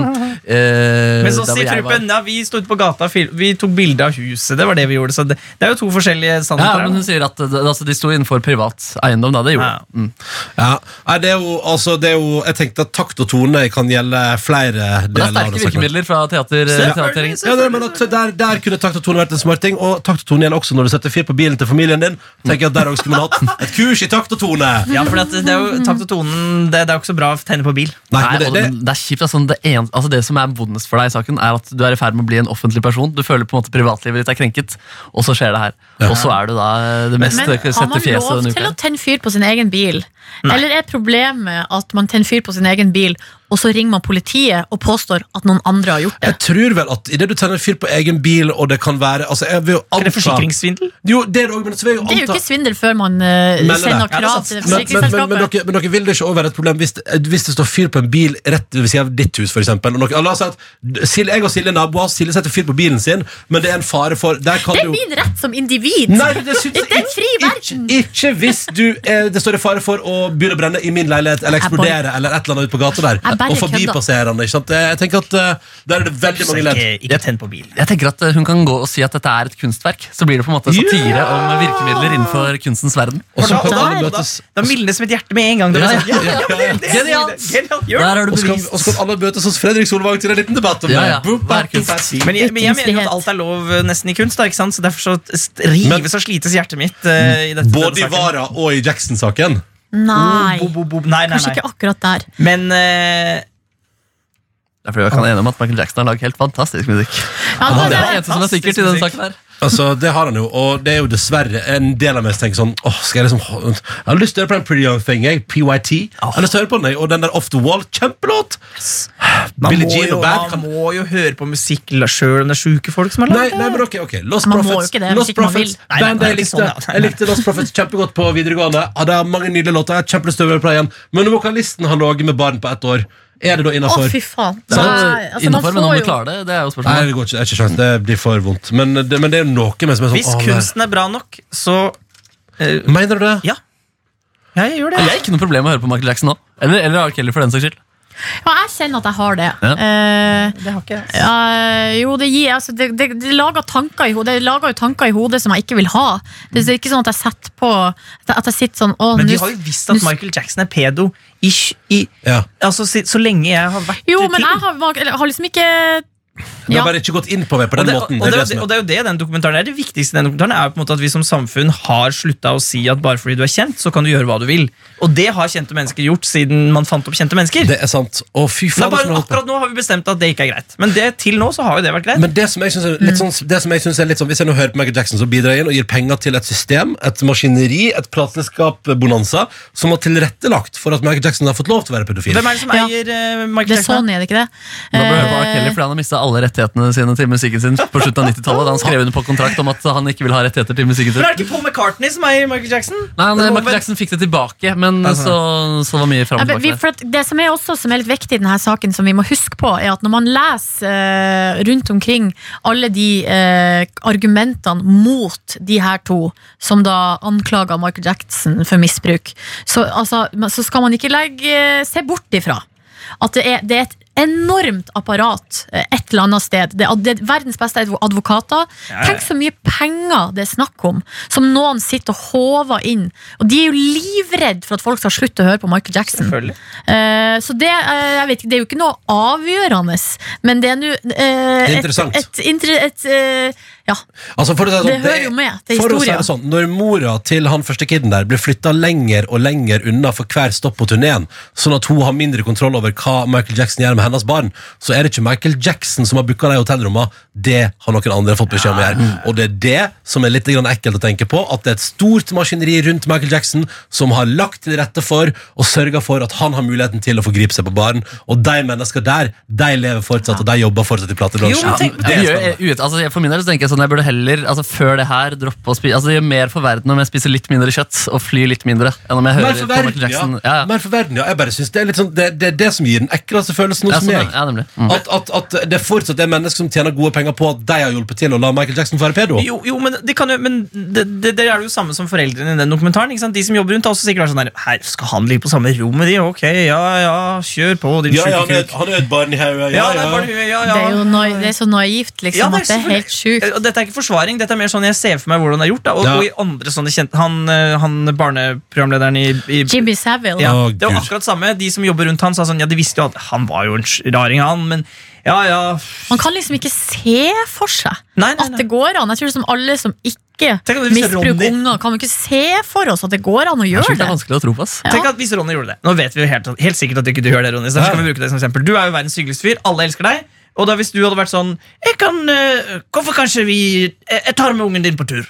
Speaker 4: eh,
Speaker 5: Men
Speaker 4: der
Speaker 5: så
Speaker 4: hvor
Speaker 5: sier
Speaker 4: jeg var.
Speaker 5: truppen ja, vi sto ute på gata og fil- vi tok bilde av huset. Det var det vi gjorde. Så det, det er jo to forskjellige
Speaker 4: Ja,
Speaker 5: sannheter. her,
Speaker 4: men hun
Speaker 5: da.
Speaker 4: sier at eh, altså, de sto innenfor privat eiendom, da. Det gjorde
Speaker 5: Ja.
Speaker 4: de. Mm.
Speaker 2: Ja. Nei, det er jo, altså, det er jo, jeg tenkte at takt og tone kan gjelde flere
Speaker 4: Men det er
Speaker 2: deler. av
Speaker 4: sterke
Speaker 2: det saken.
Speaker 4: virkemidler fra teater. eh,
Speaker 5: Selvfølgelig,
Speaker 4: teatering.
Speaker 2: Ja, nei, men at der, der kunne takt og tone vært en smart ting. Og takt og tone gjelder også når du setter fyr på bilen til familien din. Tenker jeg at der også skulle man hatt Et kurs i takt og tone!
Speaker 5: Ja, for det, det er jo takt og tonen Det, det er jo ikke så bra å tenne på bil.
Speaker 2: Nei,
Speaker 4: Nei,
Speaker 2: men det,
Speaker 4: og det,
Speaker 2: det,
Speaker 4: det er kjipt. Altså, det, en, altså, det som er vondest for deg i saken, er at du er i ferd med å bli en offentlig person. Du føler på en måte privatlivet ditt er krenket, og så skjer det her. Og så er du da eh, det mest
Speaker 3: Men
Speaker 4: eh,
Speaker 3: har
Speaker 4: søte
Speaker 3: man
Speaker 4: fjeset
Speaker 3: lov
Speaker 4: denne
Speaker 3: til å
Speaker 4: uka.
Speaker 3: tenne fyr på sin egen bil? Eller er problemet at man tenner fyr på sin egen bil, og så ringer man politiet og påstår at noen andre har gjort det?
Speaker 2: jeg tror vel at idet du tenner fyr på egen bil, og det kan være altså, jeg vil jo
Speaker 5: Er det
Speaker 2: anta,
Speaker 5: forsikringssvindel?
Speaker 2: Jo, det er det òg, men så vil jeg jo
Speaker 3: Det er jo
Speaker 2: anta
Speaker 3: ikke svindel før man eh,
Speaker 2: Melder det.
Speaker 3: sender
Speaker 5: Ja, det er
Speaker 3: krav
Speaker 5: sant.
Speaker 3: til
Speaker 2: men, men,
Speaker 3: det
Speaker 2: men, men,
Speaker 3: forsikringsselskapet.
Speaker 2: dere, men dere vil det ikke også være et problem hvis, hvis det står fyr på en bil rett ved siden av ditt hus, f.eks. La oss si at Silje- jeg og Silje er naboer, Silje setter fyr på bilen sin, men det er en fare for der kan du
Speaker 3: Det er
Speaker 2: jo-
Speaker 3: min rett som individ!
Speaker 2: Nei, men det syns
Speaker 3: Det er en fri
Speaker 2: ikke,
Speaker 3: verden.
Speaker 2: ikke hvis du eh, det står i fare for å begynne å brenne i min leilighet eller
Speaker 3: Jeg bare-
Speaker 2: eksplodere eller et eller annet ute på gata der.
Speaker 3: Jeg bare
Speaker 2: Og forbipasserende. ikke sant? Eh, Jeg tenker at eh, Der er det veldig mange ledd.
Speaker 5: Ikke, ikke tenn på bil.
Speaker 4: Jeg tenker at eh, Hun kan gå og si at dette er et kunstverk. Så blir det på en måte satire
Speaker 2: Ja!
Speaker 4: om virkemidler innenfor kunstens verden.
Speaker 2: Og så kan
Speaker 5: da,
Speaker 2: alle
Speaker 5: da, da,
Speaker 2: møtes
Speaker 5: da mildnes mitt hjerte med en gang. Det var
Speaker 4: Ja,
Speaker 5: sånn, ja, ja,
Speaker 2: ja,
Speaker 5: det- det-
Speaker 4: Genialt.
Speaker 5: Genialt, gjør det.
Speaker 4: Der er du
Speaker 2: og så kan,
Speaker 4: bevist.
Speaker 2: og så kan alle møtes hos Fredrik Solvang til en liten debatt om
Speaker 4: Ja, ja.
Speaker 2: det. Boop,
Speaker 4: Hver kunst.
Speaker 2: boop, boop.
Speaker 5: Men jeg, men jeg mener jo at
Speaker 3: Kunstfrihet.
Speaker 5: alt er lov eh, nesten i kunst, da, ikke sant? så derfor så st- rives og slites hjertet mitt. eh, i dette,
Speaker 2: Både i
Speaker 5: denne saken.
Speaker 2: Vara og i Jackson-saken.
Speaker 3: Nei,
Speaker 5: Bo, bo, bo, bo. Nei, nei,
Speaker 3: kanskje
Speaker 5: nei.
Speaker 3: ikke akkurat der.
Speaker 5: Men eh,
Speaker 4: Det er fordi jeg kan enig om at Michael Jackson har laget helt fantastisk musikk.
Speaker 3: Ja,
Speaker 4: Det
Speaker 3: da-
Speaker 4: er det eneste som er
Speaker 5: fantastisk
Speaker 4: sikkert i denne
Speaker 5: musikk.
Speaker 4: saken her.
Speaker 2: Altså, Det har han jo, og det er jo dessverre en del av meg som tenker sånn åh, skal Jeg liksom ho- Jeg har lyst til å høre på den Pretty Young Thing, jeg. PYT. Jeg har lyst til å høre på den, jeg. Og den der Off The Wall. Kjempelåt!
Speaker 5: man,
Speaker 2: Billie
Speaker 5: må
Speaker 2: Jean
Speaker 5: jo,
Speaker 2: og Bad
Speaker 5: man
Speaker 2: kan
Speaker 5: må jo høre på musikk sjøl om det er sjuke folk som har
Speaker 2: Nei,
Speaker 5: lagd det.
Speaker 2: nei, men ok, ok Lost
Speaker 3: Man må
Speaker 2: Prophets,
Speaker 3: jo ikke det, hvis
Speaker 2: Lost
Speaker 3: ikke man
Speaker 2: Prophets.
Speaker 3: vil.
Speaker 5: Nei, nei,
Speaker 2: Bandet
Speaker 5: nei,
Speaker 2: jeg,
Speaker 5: ikke
Speaker 2: likte,
Speaker 5: sånn, ja. Nei,
Speaker 2: jeg likte Lost Prophets kjempegodt på videregående. Hadde mange nydelige låter. Jeg har kjempelyst til å høre på det igjen. Men nå kan listen ha ligget med barn på ett år. Er det da
Speaker 3: Å,
Speaker 2: innafor?
Speaker 3: fy faen.
Speaker 4: Så,
Speaker 3: Nei, altså, man
Speaker 4: innenfor, men om
Speaker 3: får
Speaker 4: du
Speaker 3: jo-
Speaker 4: klarer det, det er jo
Speaker 2: Nei,
Speaker 4: spørsmålet.
Speaker 2: det går ikke. Jeg har ikke sjans. Det blir for vondt. Men det, men det er jo noe med som er sånn
Speaker 5: Hvis
Speaker 2: åh,
Speaker 5: kunsten er bra nok, så eh,
Speaker 2: nei. Mener du det?
Speaker 5: ja. ja. Jeg gjør det.
Speaker 4: Jeg har ikke noe problem med å høre på Michael Jackson nå. Eller, eller R. Kelly, for den saks skyld.
Speaker 3: Ja, jeg kjenner at jeg har det.
Speaker 4: Ja.
Speaker 3: Eh,
Speaker 5: Det har ikke jeg. altså.
Speaker 3: Ja, jo, det gir altså, det, det, det lager tanker i hodet Det lager jo tanker i hodet som jeg ikke vil ha. Det er ikke sånn at jeg setter på At jeg- at jeg sitter sånn å,
Speaker 5: Men vi
Speaker 3: nå-
Speaker 5: har jo visst at Michael Jackson er pedo i, sj- i,
Speaker 2: Ja.
Speaker 5: altså, si- så lenge jeg har vært
Speaker 3: Jo,
Speaker 5: til.
Speaker 3: men jeg har, valg- eller, jeg har liksom ikke
Speaker 2: Det
Speaker 3: ja.
Speaker 2: har bare ikke gått inn på meg på den
Speaker 5: og
Speaker 2: måten.
Speaker 5: det,
Speaker 2: Det er
Speaker 5: Og, det, og,
Speaker 2: det
Speaker 5: det,
Speaker 2: som
Speaker 5: og
Speaker 2: er.
Speaker 5: det er jo det den dokumentaren er. Det viktigste i den dokumentaren er jo på en måte at vi som samfunn har slutta å si at bare fordi du er kjent, så kan du gjøre hva du vil. Og det har kjente mennesker gjort siden man fant opp kjente mennesker.
Speaker 2: Det er sant. Å, fy
Speaker 5: det
Speaker 2: faen.
Speaker 5: er bare,
Speaker 2: som jeg holdt på.
Speaker 5: akkurat nå har vi bestemt at det ikke er greit. Men det, til nå så har jo det vært greit.
Speaker 2: Men det som jeg synes er litt
Speaker 5: Mm.
Speaker 2: sånn, det som jeg synes er litt sånn Hvis jeg nå hører på Michael Jackson, så bidrar jeg inn og gir penger til et system, et maskineri, et plateselskap-bonanza, som har tilrettelagt for at Michael Jackson har fått lov til å være pedofil.
Speaker 5: Hvem er det som
Speaker 3: Ja.
Speaker 5: eier eh,
Speaker 3: Det
Speaker 5: Michael
Speaker 3: er
Speaker 5: Jackson?
Speaker 3: Sony, er det ikke det?
Speaker 4: Nå bør jeg høre på R.
Speaker 3: Eh,
Speaker 4: Kelly, fordi han har mistet alle rettighetene sine til musikken sin på slutten av 90-tallet. Da han skrev under på kontrakt om at han ikke vil ha rettigheter til musikken
Speaker 5: Men
Speaker 4: sin.
Speaker 5: er det ikke Paul McCartney som er i Michael Jackson?
Speaker 4: Nei,
Speaker 5: Det
Speaker 4: nei,
Speaker 5: er
Speaker 4: Michael
Speaker 5: omvendt.
Speaker 4: Jackson fikk det tilbake, men
Speaker 5: Det er
Speaker 4: så, så var mye fram
Speaker 3: Ja,
Speaker 4: og
Speaker 3: men vi,
Speaker 4: tilbake. der.
Speaker 3: for at det som er også som er litt viktig i denne saken, som vi må huske på, er at når man leser eh, rundt omkring alle de eh, argumentene mot de her to, som da anklager Michael Jackson for misbruk, så, altså, men så skal man ikke legge, eh, se bort ifra at det er, det er et enormt apparat eh, et eller annet sted. Det er, det er verdens beste advo- advokater.
Speaker 5: ja.
Speaker 3: Tenk så mye penger det er snakk om, som noen sitter og håver inn. Og de er jo livredd for at folk skal slutte å høre på Michael Jackson.
Speaker 5: Selvfølgelig.
Speaker 3: Eh, så det, eh, jeg vet ikke, det er jo ikke noe avgjørende, men det er nå eh,
Speaker 2: Det er
Speaker 3: et,
Speaker 2: interessant.
Speaker 3: et, inter- et, eh, Ja,
Speaker 2: Altså for å si det,
Speaker 3: det
Speaker 2: sånn,
Speaker 3: hører jo med til
Speaker 2: For å si
Speaker 3: historien.
Speaker 2: det sånn, Når mora til han første kiden der blir flytta lenger og lenger unna for hver stopp på turneen, sånn at hun har mindre kontroll over hva Michael Jackson gjør med hennes barn, så er det ikke Michael Jackson som har booka de hotellrommene. Det har noen andre fått beskjed om å gjøre. Og det er det som er litt grann ekkelt å tenke på, at det er et stort maskineri rundt Michael Jackson som har lagt til rette for og sørga for at han har muligheten til å få gripe seg på barn. Og de menneskene der, de lever fortsatt, og de jobber fortsatt i platebransjen.
Speaker 5: Jo, men tenk-
Speaker 2: Det er
Speaker 4: Jeg
Speaker 2: spennende.
Speaker 4: gjør- jeg- ut- altså, jeg- for min del så tenker jeg sånn Jeg burde heller, altså før det her, droppe å spise Altså Det gjør mer for verden om jeg spiser litt mindre kjøtt og flyr litt mindre. Enn om jeg hører
Speaker 2: Mer for
Speaker 4: på Michael
Speaker 2: verden,
Speaker 4: Jackson.
Speaker 2: ja.
Speaker 4: Ja, ja.
Speaker 2: Mer for verden, ja. Jeg bare synes Det er litt sånn, det, det er det som gir den ekleste følelsen
Speaker 4: Ja,
Speaker 2: hos
Speaker 4: sånn,
Speaker 2: meg.
Speaker 4: ja, nemlig. Mm.
Speaker 2: At, at, at det fortsatt er mennesker som tjener gode penger på at de har hjulpet til å la Michael Jackson få være pedo.
Speaker 5: Jo, jo, men, det, kan jo, men det, det, det er jo samme som foreldrene i den dokumentaren. Ikke sant? De som jobber rundt, har også sikkert vært sånn der Her, skal han ligge på samme rom med de? Ok, ja, ja, kjør på, din
Speaker 2: Ja, ja, han
Speaker 5: sjuke
Speaker 2: er,
Speaker 5: kuk.
Speaker 2: han er et barn i hodet.
Speaker 5: Ja,
Speaker 2: Ja,
Speaker 5: det er
Speaker 2: ja.
Speaker 5: bare hun, ja, ja.
Speaker 3: Det er jo noi, det er så naivt, liksom,
Speaker 5: Ja, det er
Speaker 3: at det er helt sjukt.
Speaker 5: Og Dette er ikke forsvaring, dette er mer sånn jeg ser for meg hvordan det er gjort. Da. Og,
Speaker 2: Ja.
Speaker 5: og i andre sånne kjente Han, eh, han barneprogramlederen i, i
Speaker 3: Jimmy Savile.
Speaker 5: ja,
Speaker 2: Å,
Speaker 5: Det var
Speaker 2: Gud.
Speaker 5: akkurat samme. De som jobber rundt han, sa sånn Ja, de visste jo at han var jo en sj- raring, han, men ja, ja.
Speaker 3: Man kan liksom ikke se for seg
Speaker 5: Nei, nei,
Speaker 3: at
Speaker 5: nei.
Speaker 3: det går an. Jeg tror som alle som ikke
Speaker 5: Tenk om det viser
Speaker 3: misbruker
Speaker 5: Ronny.
Speaker 3: unger, kan jo ikke se for oss at det går an å
Speaker 4: Jeg synes
Speaker 3: gjøre
Speaker 4: det
Speaker 3: det.
Speaker 4: er vanskelig å tro på. ass
Speaker 3: Ja.
Speaker 5: Tenk at Hvis Ronny gjorde det Nå vet vi jo helt, helt sikkert at du ikke du gjør det, Ronny. Så derfor skal vi bruke deg som eksempel Du er jo verdens hyggeligste fyr. Alle elsker deg. Og da hvis du hadde vært sånn jeg kan, eh, Hvorfor kanskje vi Jeg, jeg tar med ungen din på tur.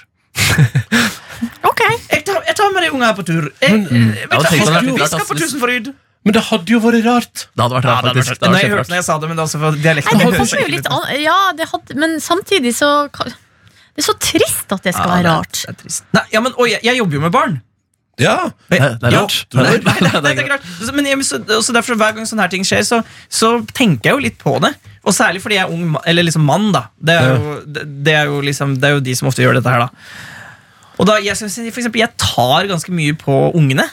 Speaker 3: Ok,
Speaker 5: Jeg tar, jeg tar med de unga her på tur. Jeg, jeg,
Speaker 4: mm. Ja, tenk om det hadde vært
Speaker 5: vi
Speaker 4: litt
Speaker 5: skal
Speaker 4: rart,
Speaker 5: på
Speaker 4: ass.
Speaker 5: Tusenfryd.
Speaker 2: Men det hadde jo vært rart.
Speaker 4: Det hadde vært rart,
Speaker 5: Ja, det hadde vært
Speaker 4: faktisk.
Speaker 5: rart. Nei,
Speaker 4: Det hadde vært
Speaker 5: jeg hørte når
Speaker 4: kjemperart.
Speaker 5: jeg sa det, men det er også for dialekten.
Speaker 3: Nei, det
Speaker 5: Det høres
Speaker 3: kommer jo
Speaker 5: skikkelig
Speaker 3: litt
Speaker 5: ut.
Speaker 3: an Ja, det hadde, men samtidig så kan- Det er så trist at det skal
Speaker 5: Ja,
Speaker 3: være
Speaker 5: det er-
Speaker 3: rart.
Speaker 5: det er trist. Nei, ja, men, og jeg, jeg jobber jo med barn.
Speaker 2: Ja.
Speaker 4: Nei, Det er rart.
Speaker 2: Ja,
Speaker 4: Nei,
Speaker 5: Nei, nei,
Speaker 4: det
Speaker 5: nei,
Speaker 4: er
Speaker 5: det
Speaker 4: rart.
Speaker 5: er klart. Så- Men jeg, så, også derfor Hver gang sånne her ting skjer, så, så tenker jeg jo litt på det. Og særlig fordi jeg er ung ma- Eller liksom mann, da. Det er jo, det, det er jo, liksom, det er jo de som ofte gjør dette her, da. Og da, jeg, skal si, for eksempel, jeg tar ganske mye på ungene.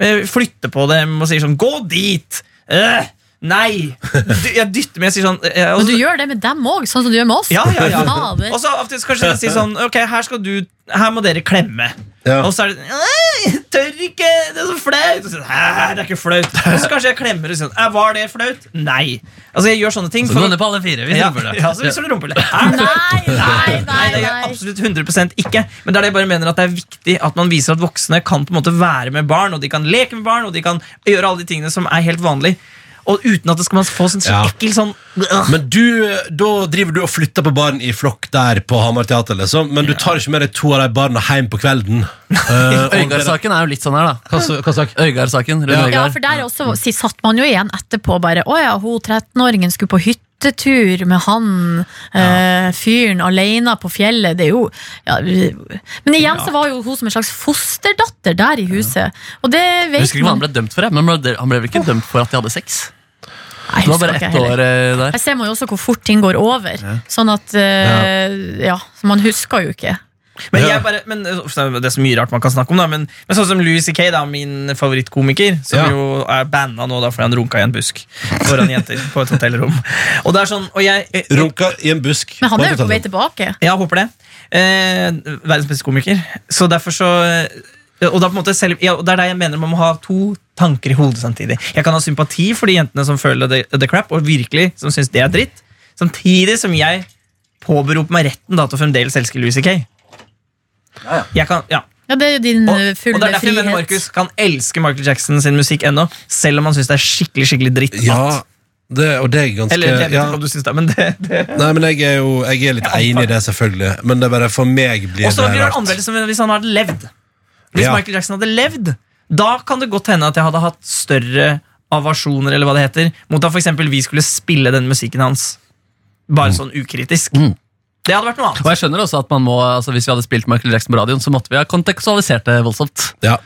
Speaker 5: Eh, Flytter på dem og sier sånn 'Gå dit!' Øh, nei! Dy- Jeg dytter med og sier sånn eh, og
Speaker 3: Men du
Speaker 5: så-
Speaker 3: gjør det med dem òg, sånn som du gjør med oss.
Speaker 5: Ja, ja, ja. Altså,
Speaker 3: Fader.
Speaker 5: Og så av og til kanskje jeg sier sånn Ok, her skal du Her må dere klemme
Speaker 2: Ja.
Speaker 5: Og så er det «Nei, Jeg tør ikke Det er så flaut Og så, Hæ, det er ikke flaut Og så kanskje jeg klemmer og sier «Æ, Var det flaut? Nei Altså jeg gjør sånne ting
Speaker 4: Så
Speaker 5: for-
Speaker 4: du lander på alle fire. Vi
Speaker 5: ja,
Speaker 4: tror det.
Speaker 5: ja, så viser du rumpehullet.
Speaker 3: Nei, nei,
Speaker 5: Nei,
Speaker 3: nei.
Speaker 5: det gjør jeg
Speaker 3: nei.
Speaker 5: absolutt 100 ikke. Men det er det jeg bare mener at det er viktig at man viser at voksne kan på en måte være med barn, og de kan leke med barn, og de kan gjøre alle de tingene som er helt vanlig. Og uten at det skal man få sånn
Speaker 2: Ja.
Speaker 5: så ekkel sånn
Speaker 2: Men du, da driver du og flytter på barn i flokk der på Hamar teater, liksom. Men du tar ikke med deg to av de barna hjem på kvelden. Eh, og-
Speaker 4: Øygard-saken er jo litt sånn her, da.
Speaker 2: Hva sa- hva sak?
Speaker 4: Øygard-saken. Rune
Speaker 2: Ja.
Speaker 3: Ja,
Speaker 4: Øygard.
Speaker 3: for der også si- satt man jo igjen etterpå bare Å ja, hun 13-åringen skulle på hyttetur med han eh, fyren alene på fjellet. Det er jo ja, vi- Men igjen så var jo hun som en slags fosterdatter der i huset. Og det
Speaker 4: Jeg
Speaker 3: vet
Speaker 4: husker ikke hva han
Speaker 3: man.
Speaker 4: ble dømt for, jeg, men han ble- han ble vel ikke dømt for at de hadde sex?
Speaker 3: Nei, jeg
Speaker 4: Det var
Speaker 3: husker
Speaker 4: bare
Speaker 3: ikke
Speaker 4: ett
Speaker 3: heller.
Speaker 4: år eh, der.
Speaker 3: Her ser man jo også hvor fort ting går over. Sånn at eh, ja. så man husker jo ikke.
Speaker 5: Men
Speaker 2: Ja.
Speaker 5: jeg bare, men uh, Det er så mye rart man kan snakke om, da, men, men sånn som Louis C.K., da, min favorittkomiker, som
Speaker 2: Ja.
Speaker 5: jo er banna nå da fordi han runka i en busk foran jenter på et hotellrom. Og det er sånn, og jeg, eh,
Speaker 2: Runka i en busk.
Speaker 3: Men han
Speaker 2: på
Speaker 3: er jo på vei
Speaker 2: hotellet.
Speaker 3: tilbake.
Speaker 5: jeg håper det. Eh, verdens beste komiker. Så derfor så eh, og da på en måte selv, ja, og Det er der jeg mener man må ha to tanker i hodet samtidig. Jeg kan ha sympati for de jentene som føler the, the crap, og virkelig som syns det er dritt, samtidig som jeg påberoper meg retten da til å fremdeles elske Louis C.K. Jeg kan, ja.
Speaker 3: Ja, det er jo din
Speaker 5: Og,
Speaker 3: eh,
Speaker 5: og
Speaker 3: fulle
Speaker 5: det er derfor jeg mener
Speaker 3: frihet.
Speaker 5: Markus kan elske Michael Jackson sin musikk ennå, selv om han syns det er skikkelig skikkelig dritt.
Speaker 2: Ja, det, og det er ganske
Speaker 5: Eller jeg vet
Speaker 2: ja.
Speaker 5: ikke hva du syns det er, men det, det.
Speaker 2: Nei, men jeg er jo jeg er litt enig i det, selvfølgelig. Men det er bare for meg blir
Speaker 5: Og så
Speaker 2: det
Speaker 5: blir det
Speaker 2: rart.
Speaker 5: annerledes som hvis han hadde levd. Hvis
Speaker 2: Ja.
Speaker 5: Michael Jackson hadde levd, da kan det godt hende at jeg hadde hatt større avasjoner eller hva det heter, mot at for eksempel vi skulle spille den musikken hans.
Speaker 2: Mm.
Speaker 5: Bare sånn ukritisk. Det hadde vært noe annet.
Speaker 4: Og jeg skjønner også at man må, altså Hvis vi hadde spilt Michael Jackson på radioen, så måtte vi ha kontekstualisert det voldsomt.
Speaker 2: Ja.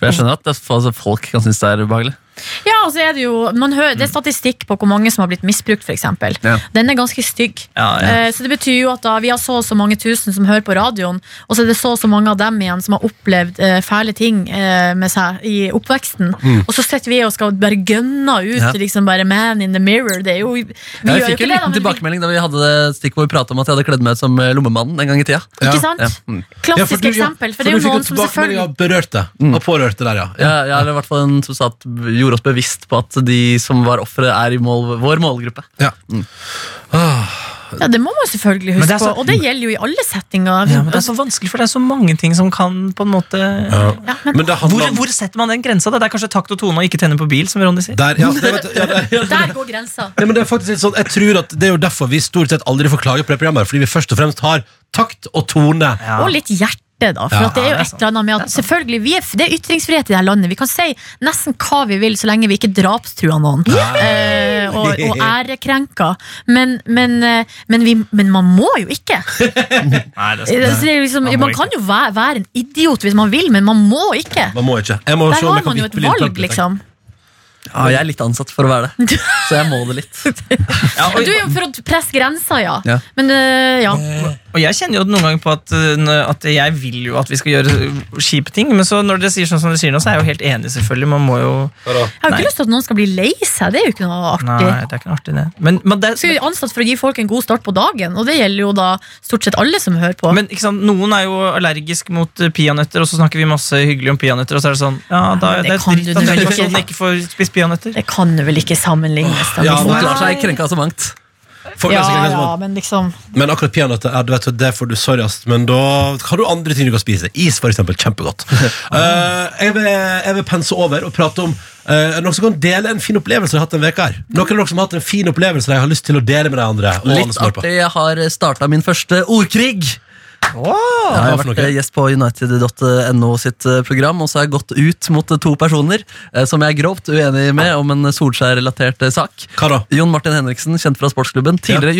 Speaker 4: For jeg skjønner at det, altså, folk kan synes det er ubehagelig.
Speaker 3: Ja, og så er det jo man hører, Det er statistikk på hvor mange som har blitt misbrukt, f.eks.
Speaker 4: Ja.
Speaker 3: Den er ganske stygg.
Speaker 5: Ja, ja.
Speaker 3: Eh, Så det betyr jo at da vi har så og så mange tusen som hører på radioen, og så er det så og så mange av dem igjen som har opplevd eh, fæle ting eh, med seg i oppveksten. Og så sitter vi og skal bare gønne ut
Speaker 4: Ja.
Speaker 3: liksom bare Man in the mirror. Det er jo, vi
Speaker 4: Jeg
Speaker 3: gjør jo
Speaker 4: fikk
Speaker 3: ikke det, da,
Speaker 4: jo en liten
Speaker 3: men vi-
Speaker 4: tilbakemelding da vi hadde det stikk hvor vi pratet om at jeg hadde kledd meg ut som eh, Lommemannen en gang i tida.
Speaker 2: Ja.
Speaker 3: Ikke sant?
Speaker 4: Ja. Mm.
Speaker 3: Klassisk
Speaker 2: for du- ja,
Speaker 3: eksempel. For det er
Speaker 2: du
Speaker 3: jo
Speaker 2: fikk
Speaker 3: noen som
Speaker 2: tilbakemelding
Speaker 3: selvfølgelig
Speaker 2: av berørte.
Speaker 5: Mm.
Speaker 2: Av pårørte der, ja.
Speaker 4: Ja, ja, eller i hvert fall en som sa at gjorde oss bevisst på at de som var ofre, er i mål, vår målgruppe.
Speaker 2: ja.
Speaker 5: Mm.
Speaker 3: Ja, det må man selvfølgelig
Speaker 5: Men
Speaker 3: huske
Speaker 5: det er så-
Speaker 3: på, og det gjelder jo i alle settinger.
Speaker 5: Ja, men det er så vanskelig, for det er så mange ting som kan på en måte
Speaker 3: Ja, men
Speaker 2: Men det
Speaker 5: hvor,
Speaker 2: handler om
Speaker 5: hvor setter man den grensa? da? Det er kanskje takt og tone og ikke tenne på bil, som Ronny sier.
Speaker 2: der, ja, det, vet, ja, det, ja,
Speaker 3: der går grensa.
Speaker 2: Ja, men Det er faktisk litt sånn, jeg tror at det er jo derfor vi stort sett aldri får klage på det programmet. Fordi vi først og fremst har takt og tone.
Speaker 5: Ja.
Speaker 3: Og litt hjerte, da. For
Speaker 2: Ja,
Speaker 3: at det er
Speaker 5: det
Speaker 3: jo
Speaker 5: er
Speaker 3: et eller annet med at selvfølgelig, vi er, Det er ytringsfrihet i det her landet. Vi kan si nesten hva vi vil, så lenge vi ikke drapstruer noen. Eh, og, og ærekrenker. Men, men, eh, men, vi, men man må jo ikke.
Speaker 5: Nei, det
Speaker 3: Så det er jo liksom,
Speaker 5: Man må
Speaker 3: man kan jo være, være en idiot hvis man vil, men man må ikke.
Speaker 2: Man må ikke. Jeg må
Speaker 3: Der
Speaker 2: se om
Speaker 3: har
Speaker 2: jeg kan
Speaker 3: man jo et
Speaker 2: vippe litt
Speaker 3: valg,
Speaker 2: plagg, takk.
Speaker 3: liksom.
Speaker 4: Ja, jeg er litt ansatt for å være det, så jeg må det litt.
Speaker 5: Ja,
Speaker 3: Og
Speaker 5: og,
Speaker 3: du er jo for å presse grensa, ja.
Speaker 4: Ja.
Speaker 3: Men eh, ja.
Speaker 5: og jeg kjenner jo noen ganger på at, uh, n- at jeg vil jo at vi skal gjøre uh, kjipe ting, men så når dere sier sånn som dere sier nå, så er jeg jo helt enig, selvfølgelig. Man må jo
Speaker 3: Jeg har jo
Speaker 5: Nei.
Speaker 3: ikke lyst til at noen skal bli lei seg. Det er jo ikke noe
Speaker 5: Nei,
Speaker 3: artig.
Speaker 5: det er ikke noe artig, det. Men, men, det,
Speaker 3: skal jo ansatt for å gi folk en god start på dagen, og det gjelder jo da stort sett alle som hører på.
Speaker 5: men ikke sant, noen er jo allergisk mot uh, peanøtter, og så snakker vi masse hyggelig om peanøtter, og så er det sånn Ja, da,
Speaker 3: men det
Speaker 5: det,
Speaker 3: kan
Speaker 5: er dritt
Speaker 3: du
Speaker 5: at den
Speaker 3: ikke.
Speaker 5: personen ikke får spist peanøtter.
Speaker 3: det kan du vel ikke sammenlignes? da,
Speaker 2: Ja,
Speaker 3: liksom.
Speaker 4: Folk lar seg krenke av så mangt.
Speaker 2: Folk er
Speaker 3: ja,
Speaker 2: sikkert
Speaker 3: ja,
Speaker 2: sånn,
Speaker 3: men liksom
Speaker 2: Men akkurat peanøtter ja, du vet, det får du sorry, ass. Men da har du andre ting du kan spise. Is, for eksempel. Kjempegodt. Eh, jeg, vil, jeg vil pense over og prate om eh, noen som kan dele en fin opplevelse de har hatt en uke her. Noen av dere som har hatt en fin opplevelse de har lyst til å dele med de andre. Og alle
Speaker 4: Litt
Speaker 2: som hører på.
Speaker 4: artig. Jeg har starta min første ordkrig. Ja, jeg
Speaker 2: Hva
Speaker 4: har
Speaker 2: for
Speaker 4: vært
Speaker 2: noe?
Speaker 4: eh, gjest på united.no sitt eh, program, og så har jeg gått ut mot eh, to personer eh, som jeg er grovt uenig med om en eh, Solskjær-relatert eh, sak.
Speaker 2: Hva da?
Speaker 4: Jon Martin Henriksen, kjent fra sportsklubben. Tidligere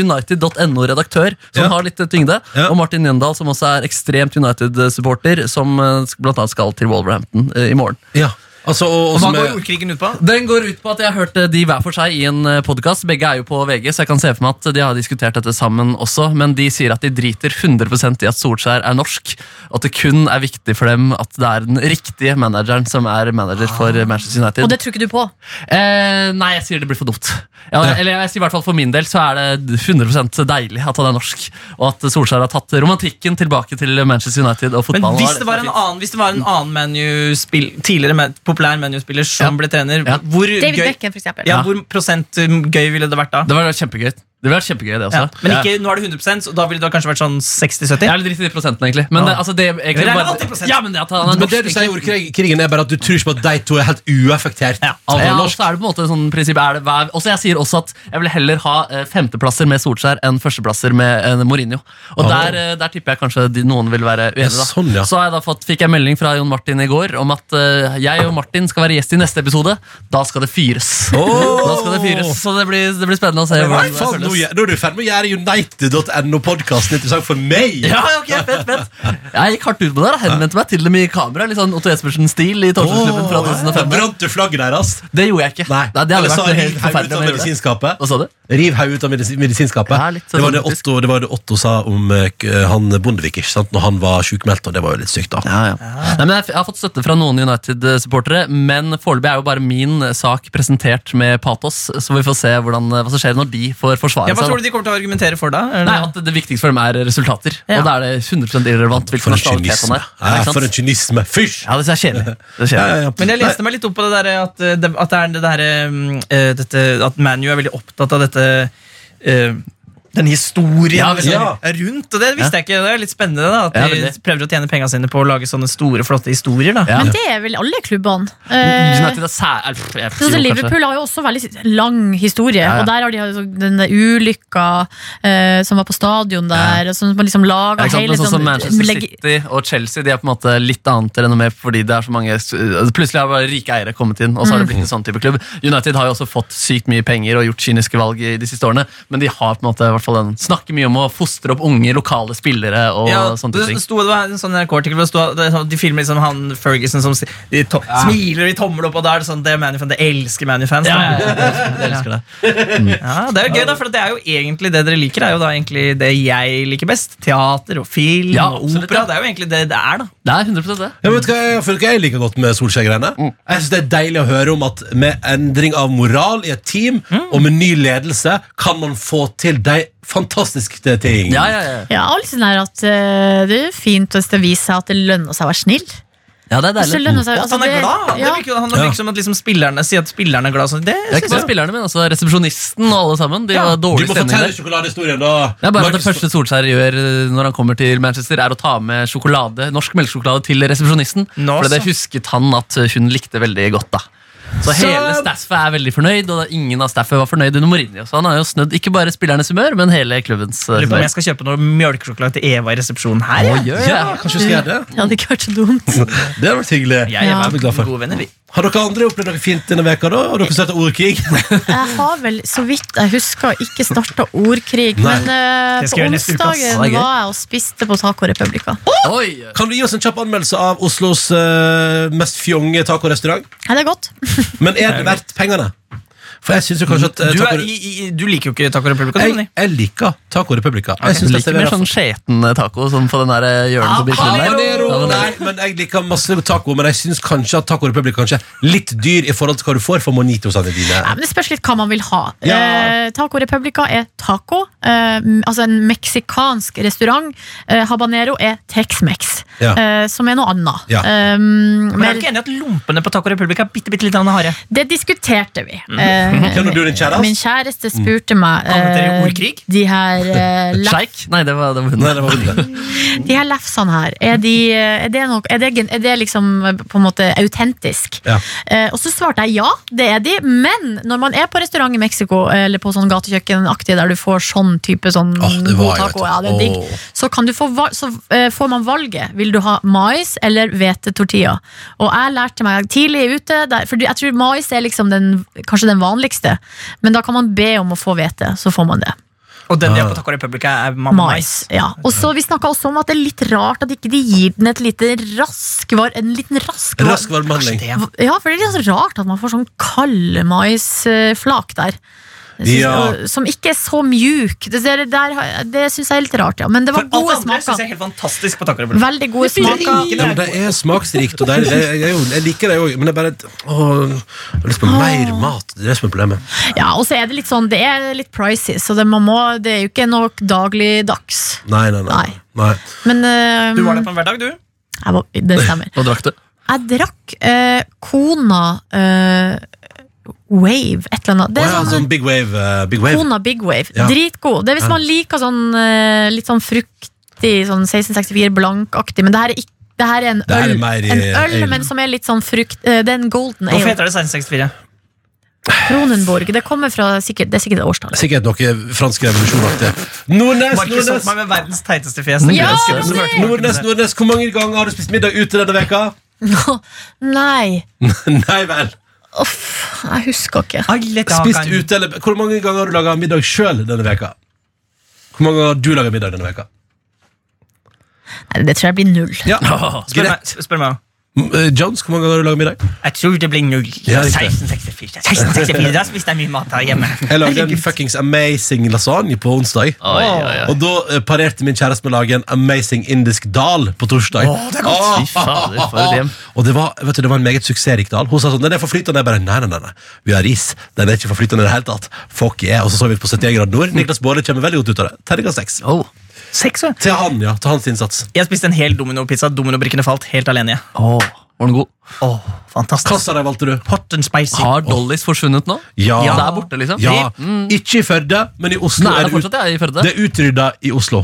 Speaker 4: United.no-redaktør, som
Speaker 2: Ja.
Speaker 4: har litt eh, tyngde.
Speaker 2: Ja.
Speaker 4: Og Martin Jøndal, som også er ekstremt United-supporter, som eh, sk- blant annet skal til Wolverhampton eh, i morgen.
Speaker 2: Ja, altså, og, og
Speaker 5: Hva
Speaker 2: som
Speaker 5: går
Speaker 2: er-
Speaker 5: ordkrigen ut på?
Speaker 4: Den går ut på at jeg har hørt eh, de hver for seg i en podkast. Begge er jo på VG, så jeg kan se for meg at de har diskutert dette sammen også. Men de sier at de driter 100 i at Solskjær er norsk, og at det kun er viktig for dem at det er den riktige manageren som er manager for eh, Manchester United.
Speaker 3: Og det tror ikke du på?
Speaker 4: eh, nei, jeg sier det blir for dumt. Ja,
Speaker 2: Ja.
Speaker 4: Eller jeg sier i hvert fall for min del så er det 100 deilig at han er norsk, og at Solskjær har tatt romantikken tilbake til Manchester United og
Speaker 5: Men
Speaker 4: fotballen.
Speaker 5: hvis det var en annen, hvis det var en annen ManU-spill, tidligere man, populær ManU-spiller som
Speaker 4: Ja.
Speaker 5: ble trener,
Speaker 4: Ja.
Speaker 5: hvor
Speaker 3: David
Speaker 5: gøy
Speaker 3: Beckham, for eksempel.
Speaker 5: ja, Hvor prosent um, gøy ville det vært da?
Speaker 4: Det var kjempegøy, det, var kjempegøy, det også.
Speaker 5: Ja. Men
Speaker 4: Ja.
Speaker 5: ikke, nå er det 100 så da ville det kanskje vært sånn 60-70?
Speaker 4: Jeg er litt dritt i de prosentene, egentlig. Men
Speaker 5: Ja.
Speaker 4: det, altså, det, er egentlig
Speaker 5: Men det er
Speaker 4: bare-
Speaker 5: 80%.
Speaker 4: Ja, men det, at han er
Speaker 2: Men det
Speaker 4: norsk,
Speaker 2: du sier i
Speaker 4: egentlig.
Speaker 2: ordkrigen, er bare at du tror ikke på at de to er helt uaffektert.
Speaker 5: Ja.
Speaker 2: Av å være
Speaker 4: ja, og
Speaker 2: norsk.
Speaker 4: så er det på en måte sånn prinsipp er det, hver- også Jeg sier også at jeg vil heller ha eh, femteplasser med Solskjær enn førsteplasser med eh, Mourinho. Og
Speaker 2: Oh.
Speaker 4: der, eh, der tipper jeg kanskje de, noen vil være uenige. Da.
Speaker 2: sånn, ja.
Speaker 4: Så har jeg da fått, fikk jeg melding fra Jon Martin i går om at eh, jeg og Martin skal være gjest i neste episode. Da skal det fyres.
Speaker 2: Oh.
Speaker 4: Da skal det fyres Så det blir, det blir spennende å se.
Speaker 2: Nei,
Speaker 4: hvordan det
Speaker 2: faen, nå,
Speaker 4: føles.
Speaker 2: gjør- nå er du i ferd med å gjøre United.no-podkasten interessant for meg!
Speaker 4: Ja, ok, fett, fett Jeg gikk hardt ut på det. da. Henvendte meg til dem i kamera. Litt sånn Otto Jespersen-stil i Torsdagsklubben fra 2005.
Speaker 2: Brant du flagget deres?
Speaker 4: Det gjorde jeg ikke.
Speaker 2: Nei.
Speaker 4: det hadde
Speaker 2: Eller så
Speaker 4: vært
Speaker 2: riv hauet
Speaker 4: helt
Speaker 2: ut
Speaker 4: forferdelig.
Speaker 2: av
Speaker 4: om jeg gjorde det.
Speaker 2: medisinskapet.
Speaker 4: Hva sa du?
Speaker 2: Riv hauet ut av medis- medisinskapet.
Speaker 4: Ja, litt sånn
Speaker 2: det, var det,
Speaker 4: faktisk.
Speaker 2: Otto, det var det Otto sa om eh, k- han Bondevik ikke sant? når han var sjukmeldt, og det var jo litt sykt, da.
Speaker 4: Ja, ja.
Speaker 5: Ah.
Speaker 4: Nei, men jeg, f- jeg har fått støtte fra noen United-supportere, men foreløpig er jo bare min eh, sak presentert med patos, så vi får se hvordan, eh, hva som skjer når de får forsvare
Speaker 5: Ja, hva
Speaker 4: seg.
Speaker 5: tror du
Speaker 4: da.
Speaker 5: de kommer til å argumentere for da? Er det-
Speaker 4: Sånn. Nei, at Det viktigste for dem er resultater,
Speaker 5: Ja.
Speaker 4: og da er det 100 irrelevant hvilken
Speaker 2: For en
Speaker 4: nasjonalitet han
Speaker 2: kynisme.
Speaker 4: er.
Speaker 2: Ja,
Speaker 4: ikke sant?
Speaker 2: for en kynisme. Fysj!
Speaker 4: Ja, det er kjedelig. Det er kjedelig.
Speaker 2: Ja, ja, ja.
Speaker 5: Men jeg leste meg litt opp på det der at, eh, det- at det er det der, um, eh, dette, At ManU er veldig opptatt av dette eh, den historien
Speaker 4: Ja,
Speaker 5: liksom,
Speaker 2: ja.
Speaker 5: rundt. Og det visste jeg ikke. Det er litt spennende da, at
Speaker 4: Ja,
Speaker 5: de
Speaker 4: veldig.
Speaker 5: prøver å tjene pengene sine på å lage sånne store, flotte historier. da
Speaker 4: Ja.
Speaker 3: Men det er vel alle klubbene. Eh,
Speaker 4: United er sær... eh, pff, jeg-
Speaker 3: sånn som
Speaker 4: jo, kanskje.
Speaker 3: Liverpool har jo også veldig lang historie,
Speaker 4: ja.
Speaker 3: og der har de hatt sånn- den der ulykka eh, som var på stadion der, og sånn at man liksom
Speaker 4: Ja,
Speaker 3: laga
Speaker 4: ikke sant?
Speaker 3: hele
Speaker 4: Men sånn som Manchester
Speaker 3: legge-
Speaker 4: City og Chelsea De er på en måte litt annet renommé fordi det er så mange altså, Plutselig har bare rike eiere kommet inn, og så har det blitt en sånn type klubb. United har jo også fått sykt mye penger og gjort kyniske valg i de siste årene, men de har på en måte i hvert hvert fall den. Snakker mye om å fostre opp unge lokale spillere og
Speaker 5: Ja,
Speaker 4: sånne
Speaker 5: det,
Speaker 4: type ting.
Speaker 5: det sto, det var en sånn NRK-artikkel hvor det sto at det er sånn- De filmer liksom han Ferguson som si- de to, smiler i tommel opp, og da er det sånn Det er Manufans, det elsker Manufans.
Speaker 4: Ja,
Speaker 5: Ja,
Speaker 4: ja, ja, jeg elsker- jeg elsker det.
Speaker 5: Mm. det er jo gøy, da, for det er jo egentlig det dere liker, er jo da egentlig det jeg liker best. Teater og film
Speaker 4: Ja,
Speaker 5: og
Speaker 4: absolutt,
Speaker 5: opera.
Speaker 4: ja.
Speaker 5: Det er jo egentlig det det er, da.
Speaker 4: Det er 100 det.
Speaker 2: Ja, men vet du hva jeg føler ikke jeg liker godt med Solskjær-greiene?
Speaker 4: Mm.
Speaker 2: Jeg synes Det er deilig å høre om at med endring av moral i et team
Speaker 4: Mm.
Speaker 2: og med ny ledelse kan man få til de fantastiske ting.
Speaker 4: Ja, ja, ja.
Speaker 3: Ja, og liksom er at eh, Det er fint hvis det viser seg at det lønner seg å være snill.
Speaker 4: ja, det er
Speaker 3: Hvis det
Speaker 4: deilig.
Speaker 3: lønner seg, altså,
Speaker 5: Og at han er glad!
Speaker 3: det, ja.
Speaker 5: Det virker, jo- han virker som at liksom spillerne sier at spillerne er glad. Sånn. Det
Speaker 4: Det er ikke bare
Speaker 5: synes jeg
Speaker 4: spillerne mine, altså resepsjonisten og alle sammen. De var
Speaker 2: Du
Speaker 4: dårlig
Speaker 2: må
Speaker 4: stemning
Speaker 2: fortelle
Speaker 4: der.
Speaker 2: sjokoladehistorien, da.
Speaker 4: Det er bare at det
Speaker 2: Markus-
Speaker 4: første Solskjær gjør eh, når han kommer til Manchester, er å ta med sjokolade, norsk melkesjokolade til resepsjonisten.
Speaker 5: Nå
Speaker 4: For det
Speaker 5: så.
Speaker 4: husket han at hun likte veldig godt, da. Så hele staffet er veldig fornøyd, og da ingen av staffet var fornøyd under Mourinho. Så han har jo snødd ikke bare spillernes humør, men hele klubbens eh,
Speaker 5: Lurer på om
Speaker 4: humør.
Speaker 5: jeg skal kjøpe noe mjølkesjokolade til Eva i resepsjonen her.
Speaker 4: Å,
Speaker 5: jeg.
Speaker 4: gjør
Speaker 2: Ja,
Speaker 4: jeg?
Speaker 2: kanskje vi skal gjøre det?
Speaker 3: det hadde ikke vært så dumt.
Speaker 2: Det hadde vært hyggelig.
Speaker 5: Jeg og Eva
Speaker 3: Ja.
Speaker 5: er
Speaker 2: Jeg er glad for.
Speaker 5: gode venner, vi.
Speaker 2: Har dere andre opplevd noe fint denne veka da? Har dere sett ordkrig?
Speaker 3: Jeg har vel, så vidt jeg husker, ikke starta ordkrig.
Speaker 2: Nei.
Speaker 3: Men eh,
Speaker 5: Det skal
Speaker 3: på
Speaker 5: jeg gjøre neste uke, ass.
Speaker 3: onsdagen
Speaker 4: Det
Speaker 3: var
Speaker 4: er gøy.
Speaker 3: jeg og spiste på Taco Republica.
Speaker 4: Oi!
Speaker 2: Kan du gi oss en kjapp anmeldelse av Oslos eh, mest fjonge tacorestaurant?
Speaker 3: Ja, det er godt.
Speaker 2: Men er det verdt pengene? For jeg syns jo kanskje at eh,
Speaker 5: Du, er,
Speaker 2: taco-
Speaker 5: i, i, du liker jo ikke Taco sånn, Republica. du,
Speaker 2: jeg,
Speaker 5: Jonny.
Speaker 2: jeg liker Taco Republica. Jeg synes det
Speaker 4: Liker mer
Speaker 2: serverer
Speaker 4: sånn skjeten eh, taco, som på den der eh, hjørnet på Birkelund der.
Speaker 2: Habanero!
Speaker 4: Ja, den der.
Speaker 2: Nei, men jeg liker masse taco, men jeg syns kanskje at Taco Republic kanskje er litt dyr i forhold til hva du får for monitosene
Speaker 3: Nei,
Speaker 2: dine.
Speaker 3: men det spørs litt hva man vil ha.
Speaker 2: Ja.
Speaker 3: Eh, taco Republica er taco. Eh, m- altså en meksikansk restaurant. Eh, habanero er Tex-Mex,
Speaker 2: Ja.
Speaker 3: eh, som er noe annet.
Speaker 2: Ja.
Speaker 3: Eh,
Speaker 5: Men jeg er
Speaker 3: mer,
Speaker 5: du ikke enig i at lompene på Taco Republica er bitte, bitte litt harde.
Speaker 3: det diskuterte vi.
Speaker 5: Mm.
Speaker 3: Eh,
Speaker 2: Kjenner du din kjæreste?
Speaker 3: min kjæreste spurte meg
Speaker 5: Havnet dere i
Speaker 3: eh,
Speaker 5: ordkrig?
Speaker 3: de her eh, lef-
Speaker 4: Sjeik? Nei, det var, det var hun.
Speaker 2: Nei, det var vondt, det.
Speaker 3: De her lefsene her, er, de, er, det nok, er, det, gen- er det liksom eh, på en måte autentisk?
Speaker 2: Ja.
Speaker 3: Eh, og så svarte jeg ja, det er de, men når man er på restaurant i Mexico, eller på sånn gatekjøkkenaktig der du får sånn type sånn
Speaker 2: Åh, det var
Speaker 3: god
Speaker 2: jo
Speaker 3: taco,
Speaker 2: et-
Speaker 3: ja, det er digg,
Speaker 2: åh.
Speaker 3: så, kan du få, val- så eh, får man valget. Vil du ha mais eller hvete-tortilla? Og jeg lærte meg tidlig ute, der, for jeg tror mais er liksom den, kanskje den vanligste, men da kan man be om å få hvete, så får man det.
Speaker 5: Og den de har på Taco Republica, er mamma mais.
Speaker 3: Mais. Ja. Og så Vi snakka også om at det er litt rart at ikke de gir den et lite rask var, en liten rask var-
Speaker 2: Rask varmebehandling.
Speaker 5: Det-
Speaker 3: Ja, for det er litt så rart at man får sånn kald maisflak der. Jeg Synes,
Speaker 2: Ja.
Speaker 3: og- Som ikke er så mjuk. Det, der, der, har- det syns jeg er litt rart, ja. Men det
Speaker 5: For
Speaker 3: var
Speaker 5: alt
Speaker 3: gode
Speaker 5: andre syns jeg
Speaker 3: smaker.
Speaker 5: er helt fantastisk på Taco Republica.
Speaker 3: Veldig gode
Speaker 5: finnes
Speaker 3: smaker.
Speaker 5: ingen-
Speaker 2: Ja, men det er smaksrikt og deilig. Det er- Jeg, er jo- jeg liker det òg, men det er bare åh, Jeg har lyst på mer mat. Det er det som er problemet.
Speaker 3: Ja, Og så er det litt sånn, det er litt pricey, så det, man må, det er jo ikke noe dagligdags.
Speaker 2: Nei, nei, nei.
Speaker 3: Nei.
Speaker 2: nei.
Speaker 3: Men eh,
Speaker 5: Du var der på en hverdag, du?
Speaker 3: jeg var, Det stemmer.
Speaker 4: Hva drakk du?
Speaker 3: Jeg drakk eh, Kona eh, Wave, et eller annet. Det
Speaker 2: Å
Speaker 3: er
Speaker 2: ja,
Speaker 3: sånn,
Speaker 2: sånn big wave. eh, big wave.
Speaker 3: Kona Big Wave.
Speaker 2: Ja.
Speaker 3: Dritgod. Det er
Speaker 2: Ja.
Speaker 3: hvis man liker sånn eh, litt sånn fruktig, sånn 1664 blankaktig, men det her er ikke det her er en
Speaker 2: her er
Speaker 3: øl,
Speaker 2: mer i-
Speaker 3: en øl
Speaker 2: ale.
Speaker 3: men som er litt sånn frukt eh, Det er en golden
Speaker 5: Hvorfor
Speaker 3: ale.
Speaker 5: heter det 1664?
Speaker 3: Kronenborg. Det kommer fra sikkert, det er sikkert et årstall.
Speaker 2: Sikkert noe fransk revolusjonaktig. Nordnes,
Speaker 5: Markus
Speaker 2: Nordnes!
Speaker 5: opp meg med verdens teiteste fjes.
Speaker 4: Ja,
Speaker 5: Jeg elsker det.
Speaker 3: Ronny!
Speaker 5: Så hørte Markus
Speaker 2: Nordnes,
Speaker 5: det.
Speaker 2: Nordnes, Hvor mange ganger har du spist middag ute denne veka?
Speaker 3: Nei,
Speaker 2: Nei vel.
Speaker 3: jeg husker ikke.
Speaker 5: Alle
Speaker 2: Spist
Speaker 5: kakene.
Speaker 2: ute, eller Hvor mange ganger har du laga middag sjøl denne veka? Hvor mange ganger har du laga middag denne veka?
Speaker 3: Nei, det tror jeg blir null.
Speaker 2: Ja,
Speaker 5: Spør meg,
Speaker 2: greit.
Speaker 5: spør meg.
Speaker 2: M- eh, Jones, hvor mange ganger har du laga middag?
Speaker 5: Jeg tror det blir null.
Speaker 2: Ja, riktig.
Speaker 5: 1664. 1664, Da spiste jeg mye mat her hjemme.
Speaker 2: Jeg lagde en fuckings amazing lasagne på onsdag.
Speaker 4: Oi, oi, oi.
Speaker 2: Og da eh, parerte min kjæreste med å lage en amazing indisk dal på torsdag. Åh,
Speaker 4: Fy fader, for et hjem.
Speaker 2: Og det var, vet du, det var en meget suksessrik dal. Hun sa sånn, den er forflytende. Jeg bare, nei, nei, nei, nei. Vi har ris. Den er ikke forflytende i det hele tatt. Fuck yeah. Og så så vi ut på 71 grader nord. Niklas Baarli kommer veldig godt ut av det. Terningkast seks.
Speaker 4: Oh.
Speaker 5: Seks, ja.
Speaker 2: Til han, ja. Til hans innsats.
Speaker 5: Jeg spiste en hel dominopizza. Dominobrikkene falt helt alene. jeg.
Speaker 4: Oh. Var den god?
Speaker 5: Åh,
Speaker 2: Hva
Speaker 5: fantastisk.
Speaker 2: sa de valgte du?
Speaker 5: Hot and spicy.
Speaker 4: Har Dollys forsvunnet nå?
Speaker 2: Ja.
Speaker 4: Det er borte, liksom?
Speaker 2: Ja, Ikke i Førde, men i Oslo.
Speaker 4: Nei, det
Speaker 2: er
Speaker 4: er fortsatt jeg i Førde. Ah.
Speaker 2: det er utrydda i Oslo.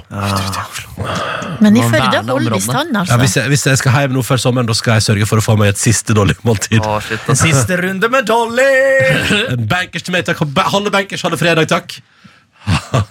Speaker 3: Men i
Speaker 4: Må
Speaker 3: Førde
Speaker 4: verne
Speaker 3: holder
Speaker 4: områdene.
Speaker 3: vi stand,
Speaker 2: Ja,
Speaker 3: altså.
Speaker 2: hvis, jeg, hvis jeg skal hjem nå før sommeren, da skal jeg sørge for å få meg et siste dårlig måltid.
Speaker 4: Å, shit,
Speaker 5: Den
Speaker 4: ass.
Speaker 5: siste runde med Dolly!
Speaker 2: En bankers til meg, takk. Halve bankers, halve fredag, takk.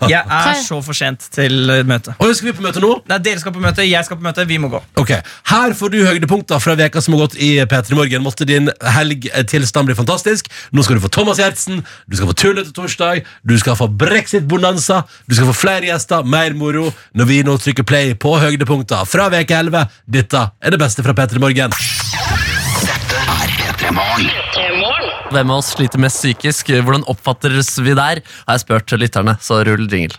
Speaker 5: Jeg
Speaker 3: Hei.
Speaker 5: er så for sent til eh, møte.
Speaker 2: Og skal vi på møte nå?
Speaker 5: Nei, dere skal på møte, jeg skal på møte, vi må gå.
Speaker 2: Ok, Her får du høydepunkter fra veka som har gått i P3 Morgen. Måtte din helgtilstand bli fantastisk. Nå skal du få Thomas Gjertsen, du skal få Tullete torsdag, du skal få brexit-bonanza, du skal få flere gjester, mer moro, når vi nå trykker play på høydepunkter fra veka 11. Dette er det beste fra P3 Morgen.
Speaker 4: Hvem av oss sliter mest psykisk? Hvordan oppfattes vi der? Har jeg spurt lytterne, så rull jingle.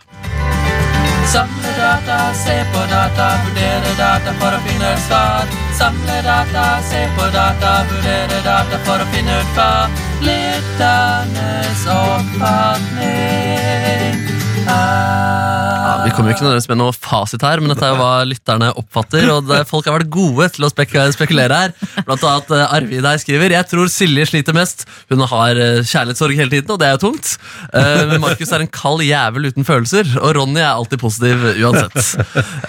Speaker 4: Samle data, se på data, vurdere data for å finne ut svar. Samle data, se på data, vurdere data for å finne ut hva lytternes oppfatning ja, vi kommer jo ikke nødvendigvis med noe fasit her, men dette er jo hva lytterne oppfatter. og det, Folk har vært gode til å spek spekulere her. Blant annet eh, Arvid her skriver Jeg tror Silje sliter mest. Hun har eh, kjærlighetssorg hele tiden, og det er jo tungt. Eh, Men Markus er en kald jævel uten følelser, og Ronny er alltid positiv uansett.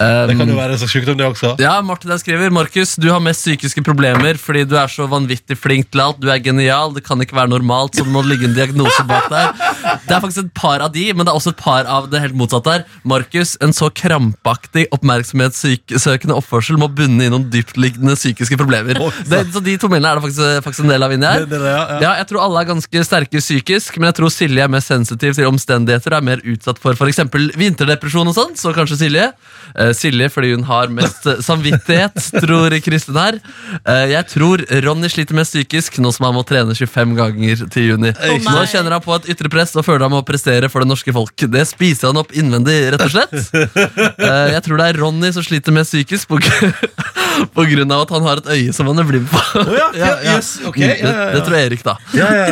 Speaker 4: Ehm,
Speaker 2: Det kan jo være en slags sykdom, det også.
Speaker 4: Ja, Martin her skriver Markus, du har mest psykiske problemer fordi du er så vanvittig flink til alt. Du er genial, det kan ikke være normalt, så det må ligge en diagnose bak der. Det er faktisk et par av de, men det er også et par av det helt motsatte her. Markus, en så krampaktig oppmerksomhetssøkende oppførsel må bunne i noen dyptliggende psykiske problemer. Det, så de to mildene er det faktisk, faktisk en del av inni her.
Speaker 2: Det- det er det, ja, ja.
Speaker 4: Ja, jeg tror alle er ganske sterke psykisk, men jeg tror Silje er mer sensitiv til omstendigheter og er mer utsatt for f.eks. vinterdepresjon og sånn, så kanskje Silje. Eh, Silje fordi hun har mest eh, samvittighet, tror Kristin her. Eh, jeg tror Ronny sliter mest psykisk nå som han må trene 25 ganger til juni.
Speaker 3: Å, nei.
Speaker 4: nå kjenner han på et ytre press og føler han må prestere for det norske folk. Det spiser han opp innvendig, rett og slett. Eh, jeg tror det er Ronny som sliter mest psykisk på, gr- på grunn av at han har et øye som han er blind på.
Speaker 2: ja, ja, Mm, yes, ok, ja, ja, ja.
Speaker 4: Det, det tror jeg Erik, da.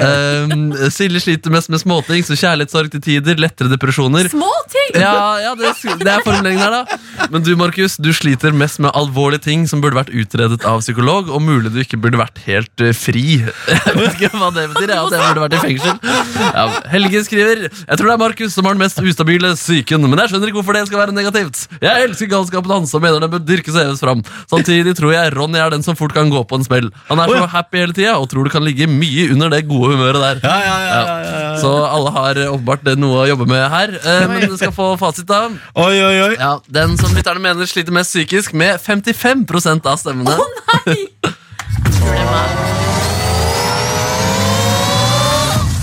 Speaker 4: Eh, Silje sliter mest med småting, så kjærlighetssorg til tider, lettere depresjoner.
Speaker 3: Små ting!
Speaker 4: Ja, ja det, det er formuleringen her, da. Men du, Markus, du sliter mest med alvorlige ting som burde vært utredet av psykolog, og mulig du ikke burde vært helt eh, fri. Jeg vet ikke hva det betyr. Ja, at jeg burde vært i fengsel. Ja, Helge skriver Jeg tror det er Markus som har den mest ustabile psyken, men jeg skjønner ikke hvorfor det skal være negativt. Jeg elsker galskapen hans og mener den bør dyrkes og heves fram. Samtidig tror jeg Ronny er den som fort kan gå på en smell. Han er så happy hele tida og tror det kan ligge mye under det gode humøret der.
Speaker 2: Ja, ja, ja, ja, ja, ja.
Speaker 4: Så alle har eh, åpenbart eh, noe å jobbe med her. Eh, Men du skal få fasit, da.
Speaker 2: Oi, oi, oi.
Speaker 4: Ja, Den som lytterne mener sliter mest psykisk, med 55 av stemmene.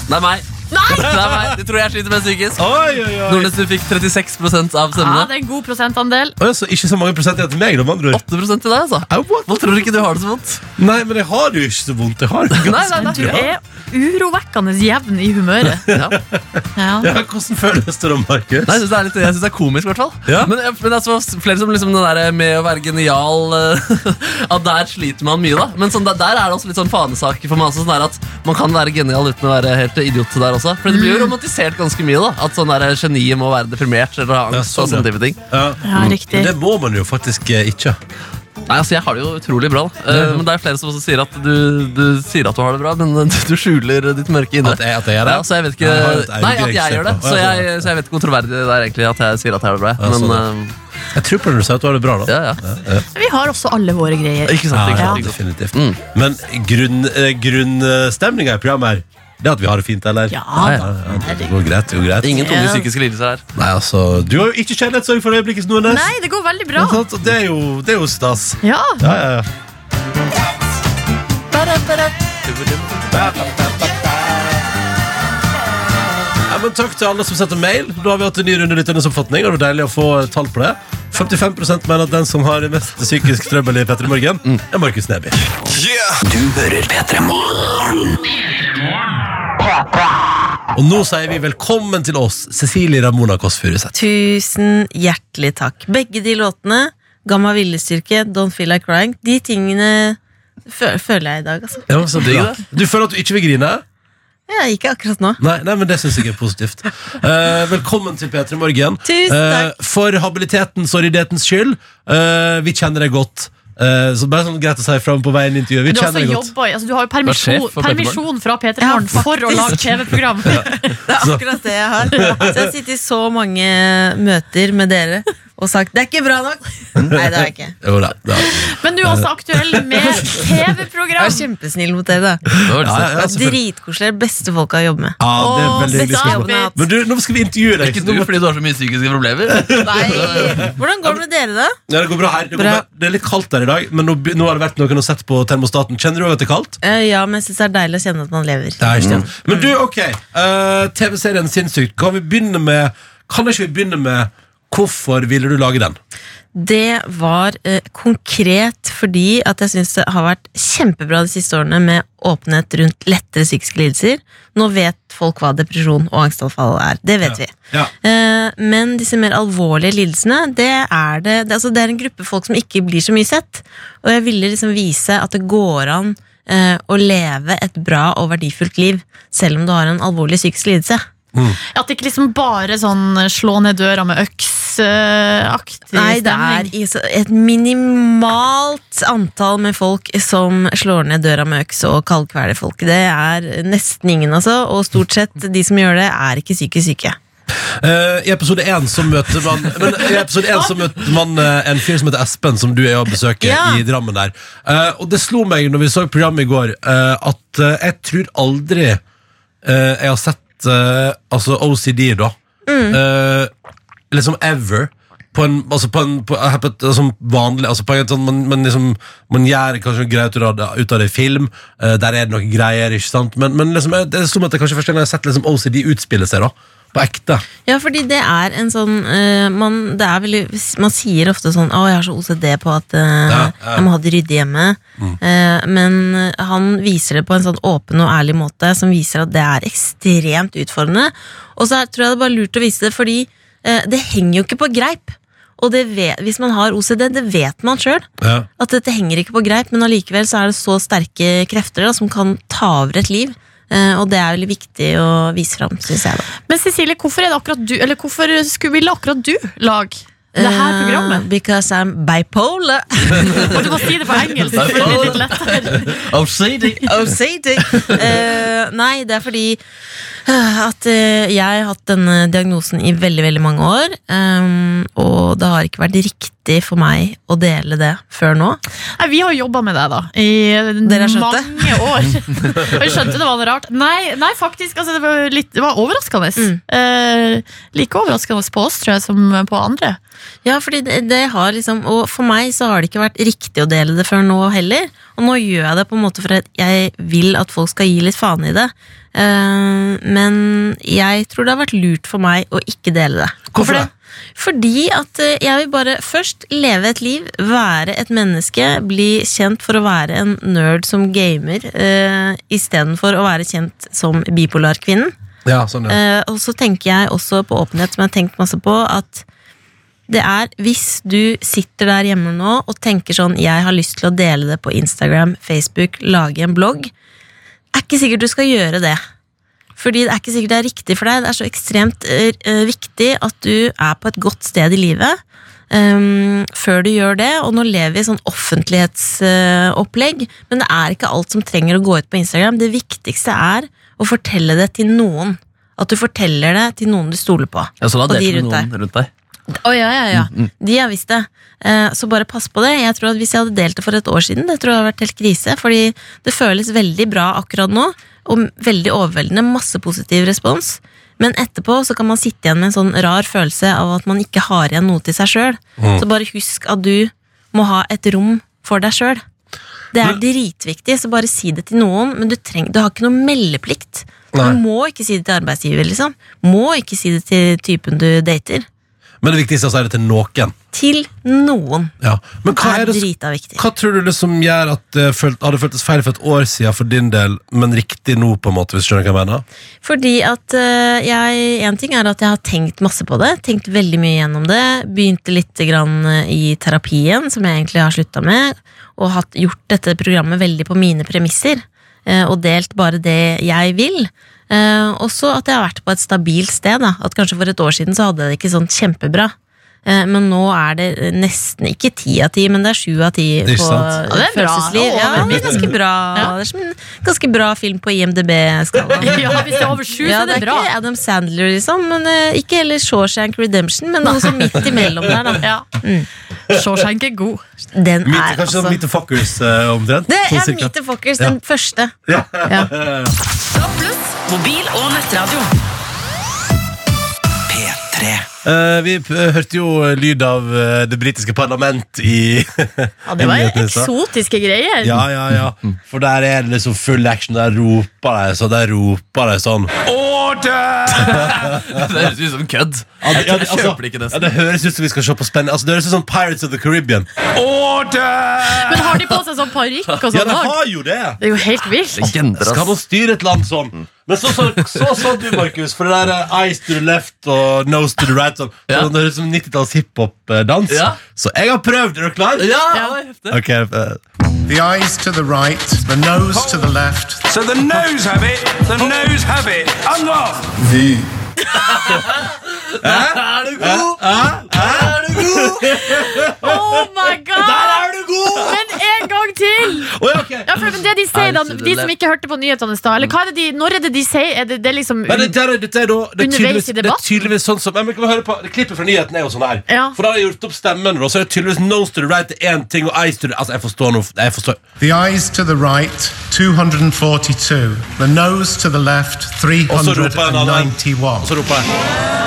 Speaker 4: Det er meg.
Speaker 3: Nei!
Speaker 4: Det er meg, De tror jeg sliter mest psykisk.
Speaker 2: Oi, oi, oi.
Speaker 4: Nordnes, du fikk 36 av
Speaker 3: Ja,
Speaker 4: stemmene.
Speaker 3: det er en god prosentandel.
Speaker 2: Å, ja, så ikke så mange prosent igjen til meg, da, med andre ord.
Speaker 4: 8 til deg, altså.
Speaker 2: Au, what?
Speaker 4: Hvorfor tror du ikke du har det så vondt?
Speaker 2: Nei, men jeg har jo ikke så vondt. Jeg har jo ganske
Speaker 4: Nei, nei, nei.
Speaker 2: vondt i
Speaker 3: Du
Speaker 2: dag.
Speaker 3: er urovekkende jevn i humøret.
Speaker 4: Ja.
Speaker 3: Ja.
Speaker 2: Ja, hvordan føles det da, Markus?
Speaker 4: Nei, jeg syns det, er litt- jeg synes det er komisk, i hvert fall.
Speaker 2: Ja.
Speaker 4: Men, men altså, flere som liksom den der med å være genial eh, At der sliter man mye, da. Men sånn, der, der er det også litt sånn fanesak for meg. også, Sånn der at Man kan være genial uten å være helt idiot der også. For det blir jo
Speaker 2: Mm.
Speaker 4: romantisert ganske mye. da At sånn der geniet må være deprimert eller ha
Speaker 2: Ja,
Speaker 4: angst.
Speaker 2: sånn,
Speaker 4: og sånne type ting
Speaker 2: Ja.
Speaker 3: Ja, riktig.
Speaker 2: Men det må man jo faktisk eh, ikke.
Speaker 4: Nei, altså Jeg har det jo utrolig bra. da. Eh, men det er flere som også sier at du, du sier at du har det bra, men du, du skjuler ditt mørke inne.
Speaker 2: At jeg, at jeg gjør det?
Speaker 4: Ja, så jeg vet
Speaker 2: Ja, jeg har et eget
Speaker 4: ikke Nei, at jeg
Speaker 2: eksempel.
Speaker 4: gjør det.
Speaker 2: Å,
Speaker 4: Så
Speaker 2: ja, sånn,
Speaker 4: jeg,
Speaker 2: ja.
Speaker 4: så jeg vet ikke hvor troverdig det er egentlig at jeg sier at jeg har det bra.
Speaker 2: Ja, sånn,
Speaker 4: Men
Speaker 2: Jeg tror på det når du sier at du har det bra, da.
Speaker 4: eh, ja, ja.
Speaker 3: Vi har også alle våre greier.
Speaker 4: Ikke sant? Ikke
Speaker 2: Ja,
Speaker 4: sant, ikke sant.
Speaker 2: definitivt. Men grunnstemninga grunn, eh, stemningen i programmet her, det er at vi har det fint, eller?
Speaker 3: Ja
Speaker 4: ja,
Speaker 3: da.
Speaker 2: Det går greit. det går greit
Speaker 4: Ingen tunge
Speaker 3: Ja.
Speaker 4: psykiske lidelser her.
Speaker 2: Nei, altså, Du har jo ikke kjærlighetssorg for øyeblikket, Snornes.
Speaker 3: Nei, det går veldig bra.
Speaker 2: Ikke sant? Og Det er jo, det er jo stas.
Speaker 3: Ja.
Speaker 2: sånn. Ja, ja, ja. Ja, men takk til alle som setter mail. Da har vi hatt en ny runde lytternes oppfatning. og Det var deilig å få tall på det. 55 mener at den som har mest psykisk trøbbel i Petter i morgen, er Markus Neby. Og nå sier vi velkommen til oss, Cecilie Ramona Kåss Furuseth.
Speaker 1: Tusen hjertelig takk. Begge de låtene, Gamma Villestyrke, Don't Feel Like Crying, de tingene fø føler jeg i dag, altså.
Speaker 2: Ja, men så bra. Du føler at du ikke vil grine?
Speaker 1: Ja, ikke akkurat nå.
Speaker 2: Nei, nei, men det syns jeg er positivt. Eh, velkommen til P3 Morgen.
Speaker 1: Tusen takk.
Speaker 2: Eh, for habilitetens og ryddighetens skyld, eh, vi kjenner deg godt. Eh, så bare sånn greit å si fra om på veien i intervjuet. Vi
Speaker 3: Du har, også
Speaker 2: kjenner deg godt.
Speaker 3: jobba, i- altså, du har jo
Speaker 4: sjef
Speaker 3: permisjon,
Speaker 4: for Peter
Speaker 3: permisjon fra P3 Morgen
Speaker 1: Ja,
Speaker 3: for å
Speaker 1: faktisk.
Speaker 3: lage TV-program.
Speaker 1: Det er akkurat det jeg har. Så jeg har sittet i så mange møter med dere og sagt 'det er ikke bra nok'. Nei, det har jeg ikke.
Speaker 2: Jo da. da.
Speaker 3: Men du er også aktuell med
Speaker 1: Jeg var
Speaker 3: TV-program.
Speaker 1: kjempesnill mot dere, da.
Speaker 4: Det var det
Speaker 2: Ja, ja,
Speaker 4: siste.
Speaker 2: ja, selvfølgelig.
Speaker 1: Dritkoselig. det Beste folka å jobbe med.
Speaker 2: Ja, det er veldig
Speaker 3: Åh,
Speaker 2: hyggelig
Speaker 3: se
Speaker 2: spørsmål.
Speaker 3: der, Nat.
Speaker 2: Men du, nå skal vi intervjue deg.
Speaker 4: Ikke du fordi du har så mye psykiske problemer.
Speaker 1: Nei. Hvordan går det med dere, da?
Speaker 2: Ja, det går bra her. Det, går
Speaker 1: Bra.
Speaker 2: bra. det er litt kaldt der i dag, men nå, be- nå har det vært noen som har sett på termostaten. Kjenner du at det er kaldt?
Speaker 1: Eh, Ja, men jeg syns det er deilig å kjenne at man lever.
Speaker 2: Det er ikke det. Men du, ok. eh, TV-serien Sinnssykt. Kan vi begynne med Kan ikke vi begynne med Hvorfor ville du lage den?
Speaker 1: Det var eh, konkret fordi at jeg syns det har vært kjempebra de siste årene med åpenhet rundt lettere psykiske lidelser. Nå vet folk hva depresjon og angstanfall er. Det vet vi.
Speaker 2: Ja.
Speaker 1: Eh, men disse mer alvorlige lidelsene, det er, det, det, altså det er en gruppe folk som ikke blir så mye sett. Og jeg ville liksom vise at det går an eh, å leve et bra og verdifullt liv selv om du har en alvorlig psykisk lidelse.
Speaker 3: At det ikke liksom bare sånn slå ned døra med eh, øks-aktig
Speaker 1: Nei, det er i så- et minimalt antall med folk som slår ned døra med øks og kaldkveler folk. Det er nesten ingen, altså. Og stort sett de som gjør det, er ikke psykisk syke.
Speaker 2: Eh, I episode én så møter man men I episode én så møter man eh, en fyr som heter Espen, som du er og besøker
Speaker 1: Ja.
Speaker 2: i Drammen der. Eh, og det slo meg når vi så programmet i går, eh, at eh, jeg tror aldri eh, jeg har sett eh, altså OCD, da. Eh, liksom ever. På en, altså på en på, her på et, altså vanlig altså på en, sånn, man, man, liksom, man gjør kanskje noe greit ut av det- ut av det i film. eh, der er det noen greier, ikke sant? Men, men liksom, jeg, det er som at det kanskje første gang jeg har sett liksom, OCD utspille seg. da På ekte.
Speaker 1: Ja, fordi det er en sånn eh, man, det er veldig, man sier ofte sånn 'Å, jeg har så OCD på at eh,
Speaker 2: Ja, ja. Mm.
Speaker 1: jeg må ha det ryddig hjemme'. Eh, men han viser det på en sånn åpen og ærlig måte som viser at det er ekstremt utfordrende. Og så er, tror jeg det er bare lurt å vise det, fordi eh, det henger jo ikke på greip. Og det vet, hvis man har OCD, det vet man sjøl.
Speaker 2: Ja.
Speaker 1: At dette henger ikke på greip, men allikevel så er det så sterke krefter da, som kan ta over et liv. Eh, og det er veldig viktig å vise fram, syns jeg. da.
Speaker 3: Men Cecilie, hvorfor, er det akkurat du, eller hvorfor skulle ville akkurat du lage det her
Speaker 1: Eh,
Speaker 3: programmet?
Speaker 1: because I'm bipolar.
Speaker 3: Og du må si det på engelsk, for det blir litt lettere.
Speaker 4: Obsidian.
Speaker 1: Oh, say it. Eh, nei, det er fordi eh, at eh, jeg har hatt denne diagnosen i veldig, veldig mange år. ehm, og det har ikke vært riktig for meg å dele det før nå.
Speaker 3: Nei, vi har jobba med deg, da, i
Speaker 1: Dere har skjønt
Speaker 3: mange
Speaker 1: det?
Speaker 3: år. Og jeg skjønte det var noe rart. Nei, nei faktisk. Altså, det, var litt, det var overraskende. Eh, like overraskende på oss, tror jeg, som på andre.
Speaker 1: Ja, fordi det, det har liksom Og for meg så har det ikke vært riktig å dele det før nå heller. Og nå gjør jeg det på en måte for at jeg vil at folk skal gi litt faen i det. Eh, men jeg tror det har vært lurt for meg å ikke dele det.
Speaker 2: Hvorfor det?
Speaker 1: Fordi at eh, jeg vil bare først leve et liv, være et menneske, bli kjent for å være en nerd som gamer, uh, istedenfor å være kjent som bipolarkvinnen.
Speaker 2: Ja, sånn, ja.
Speaker 1: Eh, og så tenker jeg også på åpenhet, som jeg har tenkt masse på, at det er hvis du sitter der hjemme nå og tenker sånn Jeg har lyst til å dele det på Instagram, Facebook, lage en blogg. Er ikke sikkert du skal gjøre det. Fordi det er ikke sikkert det er riktig for deg. Det er så ekstremt eh, eh, viktig at du er på et godt sted i livet ehm, før du gjør det. Og nå lever vi i sånn offentlighetsopplegg, men det er ikke alt som trenger å gå ut på Instagram. Det viktigste er å fortelle det til noen. At du forteller det til noen du stoler på.
Speaker 4: Ja, så da
Speaker 1: Og de
Speaker 4: delte du
Speaker 1: rundt
Speaker 4: noen rundt deg.
Speaker 1: Å, ja, ja, ja. De har visst det. Eh, Så bare pass på det. Jeg tror at Hvis jeg hadde delt det for et år siden, det tror jeg hadde vært helt krise. Fordi det føles veldig bra akkurat nå, og veldig overveldende. Masse positiv respons. Men etterpå så kan man sitte igjen med en sånn rar følelse av at man ikke har igjen noe til seg sjøl. Så bare husk at du må ha et rom for deg sjøl. Det er dritviktig, så bare si det til noen. Men du, treng, du har ikke noe meldeplikt. Du
Speaker 2: Nei.
Speaker 1: må ikke si det til arbeidsgiver, liksom. Må ikke si det til typen du dater
Speaker 2: Men det viktigste er å si det til noen.
Speaker 1: til noen.
Speaker 2: Ja. Men hva,
Speaker 1: Det
Speaker 2: er
Speaker 1: er
Speaker 2: det, som-
Speaker 1: drita viktig.
Speaker 2: hva tror du det som gjør at det følt, hadde føltes feil for et år siden for din del, men riktig nå, på en måte, hvis du skjønner hva jeg mener?
Speaker 1: Fordi at eh, jeg En ting er at jeg har tenkt masse på det. Tenkt veldig mye gjennom det. Begynte litt grann eh, i terapien, som jeg egentlig har slutta med. Og hatt, gjort dette programmet veldig på mine premisser. eh, Og delt bare det jeg vil. Eh, også at jeg har vært på et stabilt sted. Da. At kanskje for et år siden så hadde jeg det ikke sånn kjempebra. Eh, Men nå er det nesten ikke ti av ti, men det er sju av ti
Speaker 2: Ikke
Speaker 1: på
Speaker 2: sant?
Speaker 3: Ja, det er bra.
Speaker 1: følelsesliv. Ja,
Speaker 3: Over
Speaker 1: det er ganske bra.
Speaker 3: Ja.
Speaker 1: Det er som en ganske bra film på IMDb-skalaen.
Speaker 3: Ja, hvis det er over sju,
Speaker 1: Ja,
Speaker 3: så er det bra.
Speaker 1: ikke Adam Sandler, liksom, men eh, ikke heller Shawshank Redemption, men noe sånn midt imellom der, da.
Speaker 3: Ja. Shawshank er god.
Speaker 2: Meet,
Speaker 1: Den er
Speaker 2: kanskje sånn
Speaker 1: altså
Speaker 2: Meet the Fuckers eh, omtrent?
Speaker 1: Det
Speaker 2: Sånn
Speaker 1: er
Speaker 2: cirka.
Speaker 1: Meet the Fuckers, den første.
Speaker 6: Mobil og nettradio.
Speaker 2: Eh, vi p- hørte jo lyd av eh, det britiske parlament i
Speaker 3: Ja, det var
Speaker 2: Nyhetene i stad.
Speaker 3: eksotiske greier.
Speaker 2: Ja, ja, ja. For der er det liksom full action. Der roper de så der roper de sånn.
Speaker 4: Det høres ut som kødd.
Speaker 2: Ja, det- ja, det-
Speaker 4: Jeg kjøper det ikke
Speaker 2: ja,
Speaker 4: nesten.
Speaker 2: det høres ut som vi skal se på spenn Altså, det høres ut som Pirates of the Caribbean.
Speaker 3: Men har de på seg sånn parykk og
Speaker 2: Ja,
Speaker 3: sånn?
Speaker 2: de
Speaker 3: også?
Speaker 2: har jo det!
Speaker 3: det er jo helt vilt.
Speaker 4: Legender,
Speaker 2: Skal man
Speaker 4: ass.
Speaker 2: styre et land sånn? Men så så, så, så du, Markus, for det der eh, eyes to the left og nose to the right sånn.
Speaker 4: Ja.
Speaker 2: sånn, Det høres ut som 90-talls hiphop-dans.
Speaker 4: Ja.
Speaker 2: Så jeg har prøvd. Er du klar?
Speaker 4: Ja, det var heftig.
Speaker 2: Ok, eh,
Speaker 7: The eyes to the right, the nose to the left.
Speaker 8: So the nose have it, the nose have it. Unlock!
Speaker 7: The
Speaker 4: Er du god? Er du god?
Speaker 3: Oh my god!
Speaker 4: Er du god?
Speaker 3: Men en gang til!
Speaker 2: Oi, ok.
Speaker 3: Ja, for men det De sier da,
Speaker 4: Nei, så det
Speaker 3: de som
Speaker 4: lett.
Speaker 3: ikke hørte på nyhetene i stad eller hva er det de, Når er det de sier? Er det, det er liksom
Speaker 2: Men det, der, er- dette er da, det, er
Speaker 3: Underveis i
Speaker 2: tydeligvis, det er
Speaker 3: debatten?
Speaker 2: tydeligvis sånn som men, vi kan høre på, det Klippet fra nyheten er jo sånn her.
Speaker 3: Ja.
Speaker 2: For da har jeg gjort opp stemmen, og så er det tydeligvis nose to the right til én ting og eyes to the Altså, jeg forstår nå jeg forstår.
Speaker 7: the eyes to the right, 242. The nose to the left,
Speaker 2: Og så roper jeg en annen. Og
Speaker 7: 391.
Speaker 2: så roper jeg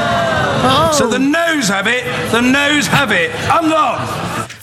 Speaker 8: So the nose have it, the nose have it. Unlock!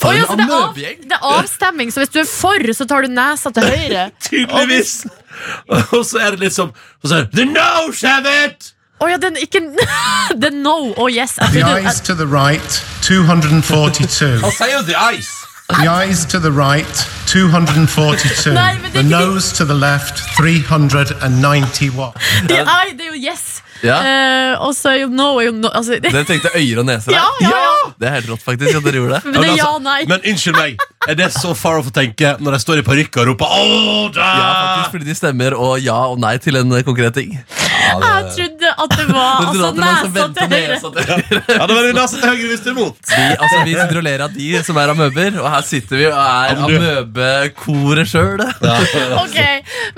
Speaker 3: Å ja, så det, er av,
Speaker 4: amøbegjeng.
Speaker 3: det er avstemming, så hvis du er for, så tar du nesa til høyre.
Speaker 2: tydeligvis! Og så er det liksom Og så er det The nose have it!
Speaker 3: Å ja, den ikke Den no og yes. Jeg
Speaker 7: The
Speaker 3: trodde-
Speaker 7: eyes to the right, 242.
Speaker 2: Han sier jo the eyes.
Speaker 7: The eyes to the right, 242.
Speaker 3: Nei, men det er
Speaker 7: The
Speaker 3: ikke-
Speaker 7: nose to the left, 391.
Speaker 3: det, nei, det er jo yes.
Speaker 4: Ja.
Speaker 3: Eh, og så er jo no er jo no altså, det,
Speaker 4: Dere tenkte øyer og neser?
Speaker 3: Ja, ja, ja.
Speaker 4: Det er helt rått, faktisk. at dere gjorde det
Speaker 3: Men det er ja og nei.
Speaker 2: Men unnskyld meg, er det så far off å tenke når jeg står i parykk og roper oh,
Speaker 4: Ja, faktisk, fordi de stemmer og ja og nei til en eh, konkret ting.
Speaker 3: Jeg trodde at det var
Speaker 4: Dere
Speaker 3: altså,
Speaker 4: trodde at det var
Speaker 3: nesa til høyre.
Speaker 4: sånn vente og nesa til høyre.
Speaker 2: Ja, det var nesa til høyre hvis du er imot.
Speaker 4: Vi, altså, vi sitter og ler av de som er amøber, og her sitter vi og er
Speaker 2: men du-
Speaker 4: amøbekoret sjøl.
Speaker 3: Ok,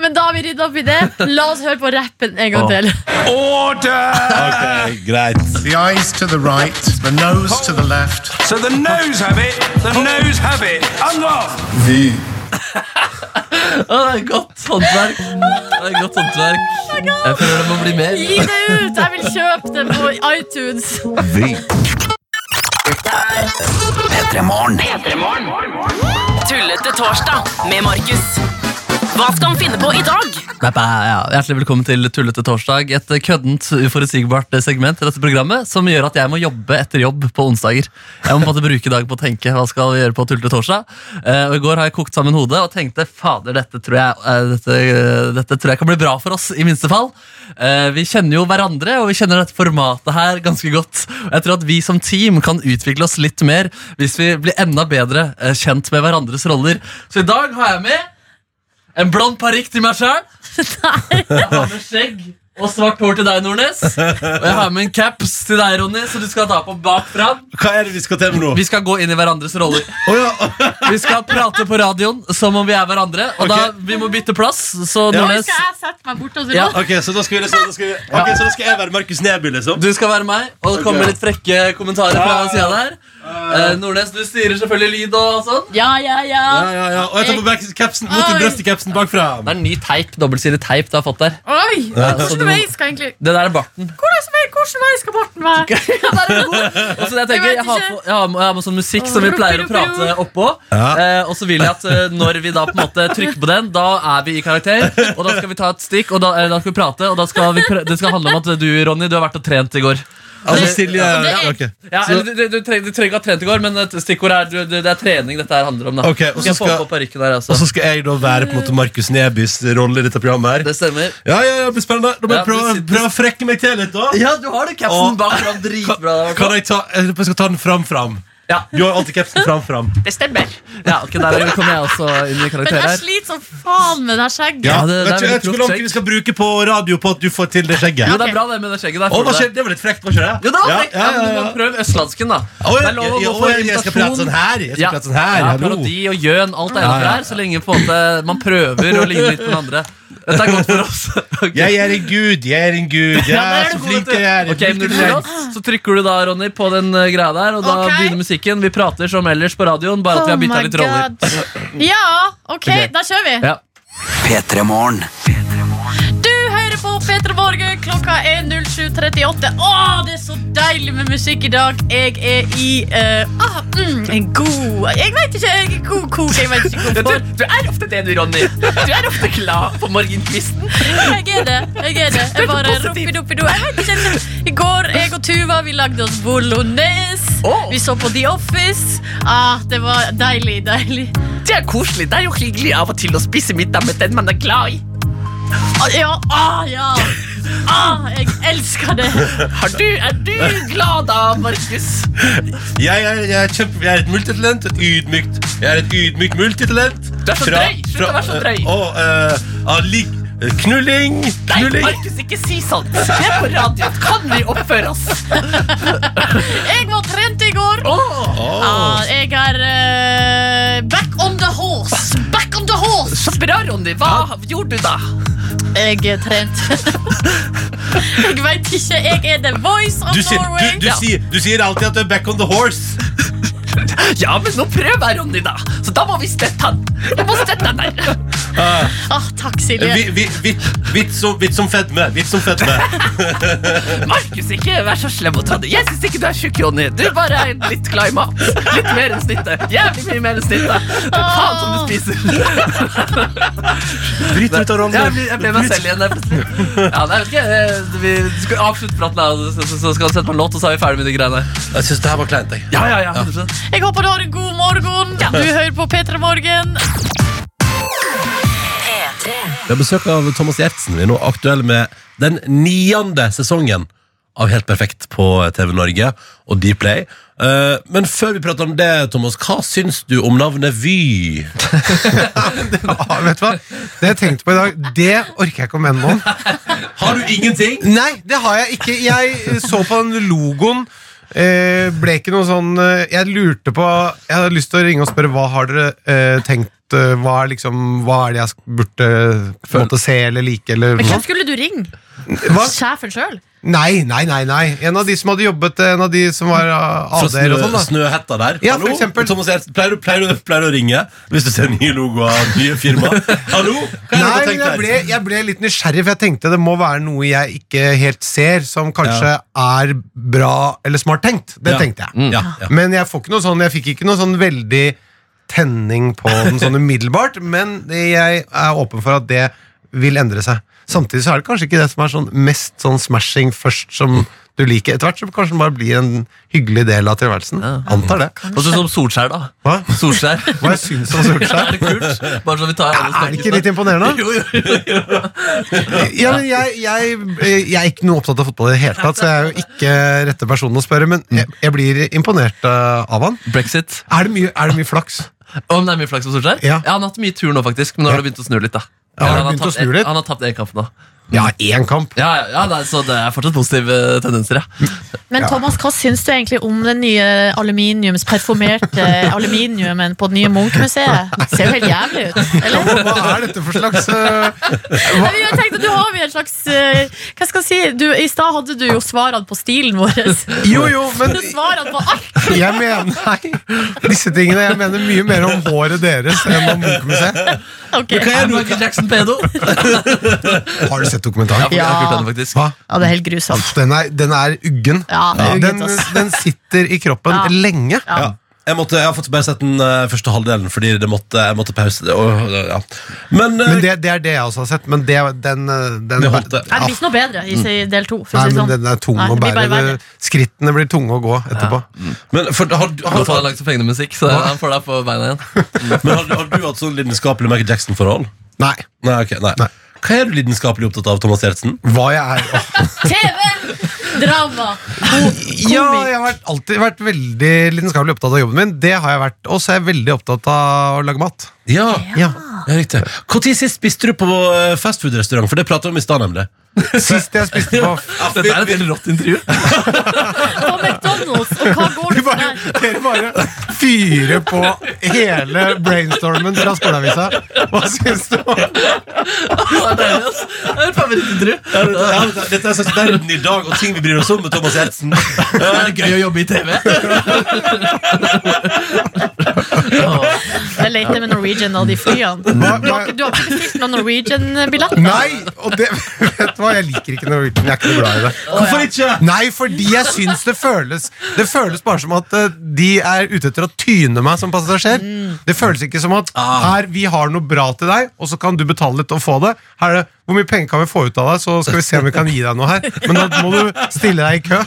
Speaker 3: Men da har vi rydda opp i det. La oss høre på rappen en gang til.
Speaker 8: Order!
Speaker 2: Ok, greit.
Speaker 7: The eyes to the right, the nose to the left.
Speaker 8: So the nose have it, the nose have it. Unlock!
Speaker 7: The
Speaker 4: Å, det er godt håndverk. Det er godt håndverk. Jeg føler det må bli mer.
Speaker 3: Gi det ut! Jeg vil kjøpe det på iTunes.
Speaker 6: Tullete torsdag med Markus. Hva skal han finne på i dag?
Speaker 4: Nei, ba, ja. Hjertelig velkommen til Tullete torsdag. Et køddent, uforutsigbart segment i dette programmet som gjør at jeg må jobbe etter jobb på onsdager. Jeg må på en måte bruke dagen på å tenke hva skal vi gjøre på Tullete torsdag. Eh, og I går har jeg kokt sammen hodet og tenkte fader, dette tror jeg, eh, dette, eh, dette tror jeg kan bli bra for oss, i minste fall. Eh, vi kjenner jo hverandre, og vi kjenner dette formatet her ganske godt. Og Jeg tror at vi som team kan utvikle oss litt mer hvis vi blir enda bedre eh, kjent med hverandres roller. Så i dag har jeg med en blond parykk til meg sjøl. Jeg har med skjegg og svart hår til deg, Nordnes. Og jeg har med en caps til deg, Ronny, så du skal ta på bak fram.
Speaker 2: Hva er det vi skal til med nå?
Speaker 4: Vi skal gå inn i hverandres roller.
Speaker 2: Å ja.
Speaker 4: Vi skal prate på radioen som om vi er hverandre. Og da vi må bytte plass, så
Speaker 2: Ja.
Speaker 3: Nå
Speaker 4: Nordnes
Speaker 3: skal jeg sette meg bort og
Speaker 4: Ja.
Speaker 2: Ok, så da skal, vi liksom, da skal, vi, ok, så da skal jeg være Markus Neby, liksom?
Speaker 4: du skal være meg, og det kommer litt frekke kommentarer fra sida der. Eh, Nordnes, du styrer selvfølgelig lyd og sånn.
Speaker 3: Ja, ja, ja.
Speaker 2: Ja, ja, ja. Og jeg tar på back- capsen, mot
Speaker 3: Oi.
Speaker 2: brøstekapsen bakfra.
Speaker 4: Det er ny teip, dobbeltsidig teip du har fått der.
Speaker 3: Oi!
Speaker 4: Så du
Speaker 3: Hvordan
Speaker 4: må-
Speaker 3: vei skal egentlig
Speaker 4: Det der er barten.
Speaker 3: Hvordan vei, hvordan vei skal Morten være?
Speaker 4: Og så jeg tenker,
Speaker 3: Jeg vet
Speaker 4: jeg har,
Speaker 3: ikke.
Speaker 4: på, jeg, har, med- jeg har med sånn musikk som vi pleier å prate oppå.
Speaker 2: Ja.
Speaker 4: Eh, og så vil jeg at eh, når vi da på en måte trykker på den, da er vi i karakter. Og da skal vi ta et stikk, og da, eh, da skal vi prate. Og da skal vi pr det skal handle om at du, Ronny, du har vært og trent i går.
Speaker 2: Altså, Silje
Speaker 3: er-
Speaker 2: ok.
Speaker 4: Ja, eller, du, du, du, treng, du trenger ikke ha trent i går, men et stikkord er, du, du, det er trening dette her handler om. Da.
Speaker 2: Ok, og så
Speaker 4: skal jeg få
Speaker 2: skal-
Speaker 4: på parykken her,
Speaker 2: Og
Speaker 4: altså.
Speaker 2: så skal jeg da være på en måte Markus Nebys rolle i dette programmet her.
Speaker 4: Det stemmer.
Speaker 2: Ja, ja, ja, det blir spennende. Da må
Speaker 4: Ja,
Speaker 2: jeg prøve,
Speaker 4: du sitter-
Speaker 2: prøve å frekke meg til litt, da.
Speaker 4: Ja, du har det,
Speaker 2: Åh.
Speaker 4: capsen bak fram. Dritbra.
Speaker 2: Kan jeg ta Jeg lurer på om jeg skal ta den fram fram.
Speaker 4: Ja.
Speaker 2: Du har alltid capsen fram fram.
Speaker 5: Det stemmer.
Speaker 4: Ja, ok, Der kom jeg også inn i
Speaker 3: Men
Speaker 4: karakter
Speaker 3: jeg
Speaker 4: her.
Speaker 3: sliter som faen med det her skjegget.
Speaker 2: Ja,
Speaker 4: Ja, det- det er
Speaker 2: vet du, jeg
Speaker 4: veldig
Speaker 2: tror
Speaker 4: klokt
Speaker 2: langt vi skal bruke på radio på at du får til det skjegget.
Speaker 4: Jo, det er bra, det med det skjegget der.
Speaker 2: Å,
Speaker 4: får
Speaker 2: hva
Speaker 4: du
Speaker 2: skjer?
Speaker 4: det.
Speaker 2: Det var litt frekt, var ikke det?
Speaker 4: Jo, da,
Speaker 2: ja,
Speaker 4: det-
Speaker 2: ja,
Speaker 4: men du
Speaker 2: ja,
Speaker 4: må
Speaker 2: ja.
Speaker 4: prøve østlandsken, da.
Speaker 2: Å,
Speaker 4: Det
Speaker 2: ja,
Speaker 4: er lov å
Speaker 2: ja,
Speaker 4: gå
Speaker 2: å,
Speaker 4: for
Speaker 2: jeg, jeg skal prate sånn
Speaker 4: imitasjon.
Speaker 2: her. Jeg skal
Speaker 4: Ja.
Speaker 2: prate sånn her.
Speaker 4: Ja,
Speaker 2: hallo.
Speaker 4: parodi og gjøn, alt er innafor
Speaker 2: Ja, ja.
Speaker 4: her, så lenge på en måte man prøver å ligne litt på den andre. Dette er godt for oss. Ok.
Speaker 2: Jeg er en gud, jeg er en gud. Jeg
Speaker 4: der
Speaker 2: er
Speaker 4: er
Speaker 2: så
Speaker 4: du god,
Speaker 2: flink
Speaker 4: vet du.
Speaker 2: jeg er.
Speaker 4: Ok, men når du er klar, Så trykker du da, Ronny, på den eh, greia der, og da
Speaker 3: Ok.
Speaker 4: begynner musikken. Vi prater som ellers på radioen, bare at vi har bytta litt roller.
Speaker 3: Oh Ja, ok, da kjører vi.
Speaker 4: Ja.
Speaker 3: Du hører på Petra Morgen, klokka er 07.38. Å, det er så deilig med musikk i dag. Jeg er i eh, ah, mm, en god Jeg vet ikke, jeg er i god kok. Jeg vet ikke hvorfor.
Speaker 4: er ofte det, du, Ronny. Du er ofte glad på morgenkvisten.
Speaker 3: Jeg er det. Jeg er det. Jeg bare roppidoppido. Jeg vet ikke. jeg- I går, jeg og Tuva, vi lagde oss bolognese.
Speaker 4: Å.
Speaker 3: Vi så på The Office. Ah, det var deilig, deilig.
Speaker 4: Det er koselig. Det er jo hyggelig av og til å spise middag med den man er glad i.
Speaker 3: Ah, ja, ah, ja. Ah, jeg elsker det.
Speaker 4: er du glad da, Markus?
Speaker 2: Jeg er, jeg er, kjempe, jeg er et multitalent, et ydmykt Jeg er et ydmykt multitalent.
Speaker 4: Du er så drøy. Slutt å være så drøy.
Speaker 2: Å, eh, ah, ligg- eh, knulling! Knulling!
Speaker 4: ikke si sånt. Vi er på radioen. Kan vi oppføre oss?
Speaker 3: Jeg var trent i går.
Speaker 2: Å,
Speaker 3: Ah, jeg er eh, back on the horse. Back on the horse!
Speaker 4: Så bra, Ronny. Hva gjorde du da?
Speaker 3: Jeg er trent. jeg veit ikke. Jeg er the voice of
Speaker 2: du, sier,
Speaker 3: Norway.
Speaker 2: du, du, sier, du sier alltid at du er back on the horse.
Speaker 4: Ja, men nå prøv her, Ronny, da. Så da må vi støtte han. Jeg må støtte han der.
Speaker 3: Ah, takk, Silje.
Speaker 2: Eh, Vi- vi- Vits vits om- vits om fedme. Vits om fedme.
Speaker 4: Markus, ikke vær så slem mot Ronny. Jeg syns ikke du er tjukk, Ronny. Du bare er litt glad i mat. Litt mer enn snittet. Jævlig mye mer enn snittet. Faen som du spiser.
Speaker 2: Bryt ut av
Speaker 4: Jeg ble, jeg ble meg selv igjen der plutselig. Ja, nei, vet ikke. eh, Vi skal avslutte praten, da, så- så så skal han sette på en låt, og så er vi ferdig med de greiene.
Speaker 2: Jeg syns det her var kleint. jeg.
Speaker 4: Ja, ja, ja. 100%.
Speaker 3: Jeg håper du har en god morgen. Du hører på P3 Morgen.
Speaker 2: Vi har besøk av Thomas Gjertsen. Vi er nå aktuelle med den niende sesongen av Helt perfekt på TV Norge og Dplay. Eh, men før vi prater om det, Thomas, hva syns du om navnet Vy?
Speaker 9: Ja, vet du hva? Det jeg tenkte på i dag, det orker jeg ikke å mene noe om.
Speaker 2: Har du ingenting?
Speaker 9: Nei, det har jeg ikke. Jeg eh, så på den logoen. Eh, ble ikke noe sånn eh, Jeg lurte på Jeg hadde lyst til å ringe og spørre hva har dere eh, tenkt eh, hva er, liksom, hva er det jeg sk- burde på en måte, se eller like? Eller,
Speaker 3: Hvem
Speaker 9: noe?
Speaker 3: skulle du ringe?
Speaker 9: Hva?
Speaker 3: Sjefen sjøl?
Speaker 9: Nei, nei, nei, nei. En av de som hadde jobbet, eh, en av de som var eh,
Speaker 2: Fra
Speaker 9: AD-er og sånn.
Speaker 2: snø,
Speaker 9: da
Speaker 2: snøhetta der.
Speaker 9: Ja, for
Speaker 2: Hallo?
Speaker 9: eksempel.
Speaker 2: Thomas Gjertsen, pleier, du- pleier, du- pleier du å ringe hvis du ser nye logoer, nye firma? Hallo? Hva er det du har
Speaker 9: Nei,
Speaker 2: tenkt
Speaker 9: men jeg
Speaker 2: her?
Speaker 9: ble, jeg ble litt nysgjerrig, for jeg tenkte det må være noe jeg ikke helt ser, som kanskje er bra eller smart tenkt. Det
Speaker 2: Ja.
Speaker 9: tenkte jeg.
Speaker 2: Mm. Ja, ja.
Speaker 9: Men jeg, får ikke noe sånn, jeg fikk ikke noe sånn veldig tenning på den sånn umiddelbart, men jeg er åpen for at det vil endre seg. Samtidig så er det kanskje ikke det som er sånn mest sånn smashing først som du liker. Etter hvert så kanskje den bare blir en hyggelig del av tilværelsen. Antar det.
Speaker 4: Og så som Solskjær, da.
Speaker 9: Hva?
Speaker 4: Solskjær.
Speaker 9: Hva jeg syns om Solskjær?
Speaker 4: Er det kult? Bare så vi tar alle
Speaker 9: Er det ikke
Speaker 4: snakkene.
Speaker 9: litt imponerende?
Speaker 4: Jo, jo, jo.
Speaker 9: Ja, men jeg, jeg, eh, jeg er ikke noe opptatt av fotball i det hele tatt, så jeg er jo ikke rette personen å spørre, men jeg, jeg blir imponert eh, av han.
Speaker 4: Brexit.
Speaker 9: Er det mye, er det mye flaks?
Speaker 4: Om det er mye flaks med Solskjær?
Speaker 9: Ja.
Speaker 4: han har hatt mye tur nå, faktisk. Men nå har det begynt å snu litt, da.
Speaker 9: Ja, har det
Speaker 4: han,
Speaker 9: begynt å
Speaker 4: tapt
Speaker 9: snu
Speaker 4: en-
Speaker 9: litt?
Speaker 4: han har tapt én kamp nå.
Speaker 9: Ja, én kamp.
Speaker 4: Ja, ja, ja nei, Så det er fortsatt positive eh, tendenser, ja.
Speaker 3: Men Thomas, hva syns du egentlig om den nye aluminiums, performerte aluminiumen på det nye Munch-museet? Det ser jo helt jævlig ut. Eller?
Speaker 9: Hva er dette for slags eh,
Speaker 3: Nei, men jeg tenkte, Du har vi en slags eh, Hva skal jeg si? Du, I stad hadde du jo svarene på stilen vår.
Speaker 9: Jo, jo, men
Speaker 3: Du svarene på alt!
Speaker 9: jeg mener Nei, disse tingene. Jeg mener mye mer om håret deres enn om Munch-museet.
Speaker 3: Ok.
Speaker 4: Er Michael Jackson pedo?
Speaker 9: Har du sett dokumentaren?
Speaker 4: Jeg har
Speaker 3: Ja.
Speaker 4: ikke hørt den, faktisk.
Speaker 9: Hva?
Speaker 3: Ja, det er helt grusomt.
Speaker 9: Den er, den er uggen.
Speaker 3: Ja, det er
Speaker 9: Den,
Speaker 3: uggent, ass.
Speaker 9: den sitter i kroppen
Speaker 3: Ja.
Speaker 9: lenge.
Speaker 2: Ja. Jeg, måtte, jeg har fått bare sett den eh, første halvdelen fordi det måtte, jeg måtte pause. det, og- ja. Men, eh,
Speaker 9: Men det, det er det jeg også har sett. Men det, den, eh, den
Speaker 2: Det holdt det.
Speaker 3: Nei, Det blir ikke noe bedre i se- del to. for å
Speaker 9: liksom- Nei,
Speaker 3: si det
Speaker 9: men
Speaker 3: sånn.
Speaker 9: den er tung
Speaker 3: Nei,
Speaker 9: å
Speaker 3: det blir bare
Speaker 9: bære.
Speaker 3: verre.
Speaker 9: Det- Skrittene blir tunge å gå etterpå.
Speaker 2: men, for, har,
Speaker 4: Nå
Speaker 2: har,
Speaker 4: får han lagd så fengende musikk, så han får deg på beina igjen.
Speaker 2: Men har, har du hatt sånn lidenskapelig Michael Jackson-forhold?
Speaker 9: Nei.
Speaker 2: Nei, ok, nei.
Speaker 9: Nei.
Speaker 2: Hva er du lidenskapelig opptatt av, Thomas Gjertsen?
Speaker 9: Hva jeg er Åh.
Speaker 3: TV! Drama!
Speaker 9: Ja, jeg har vært, alltid vært veldig lidenskapelig opptatt av jobben min. Det har jeg vært. Og så er jeg veldig opptatt av å lage mat.
Speaker 2: Ja, ja. riktig. Når sist spiste du på eh, fastfood-restaurant? For det pratet vi om i stad, nemlig.
Speaker 9: Sist jeg spiste på
Speaker 4: Dette er et helt rått intervju.
Speaker 3: På McDonald's, og hva går
Speaker 9: Vi
Speaker 3: det for
Speaker 9: bare,
Speaker 3: der?
Speaker 9: dere bare fyrer på hele brainstormen fra Sportavisa. Hva syns du om
Speaker 4: Det er deilig, ass. Det er et favorittintervju.
Speaker 2: Ja, Dette er en slags verden i dag og ting vi bryr oss om med Thomas Gjertsen.
Speaker 4: Det er gøy å jobbe i TV.
Speaker 3: Jeg leter med Norwegian og de flyene. Du
Speaker 9: hva,
Speaker 3: har, ikke-
Speaker 9: hva?
Speaker 3: du har ikke bestilt noen Norwegian-billett?
Speaker 9: Nei! Og det, vet du hva, jeg liker ikke Norwegian. Jeg er ikke noe glad i det.
Speaker 2: Hvorfor ikke?
Speaker 9: Nei, fordi jeg syns det føles Det føles bare som at eh, de er ute etter å tyne meg som passasjer. Det føles ikke som at
Speaker 2: Ah.
Speaker 9: her, vi har noe bra til deg, og så kan du betale litt og få det. Her er det, Hvor mye penger kan vi få ut av deg, så skal vi se om vi kan gi deg noe her. Men da må du stille deg i kø.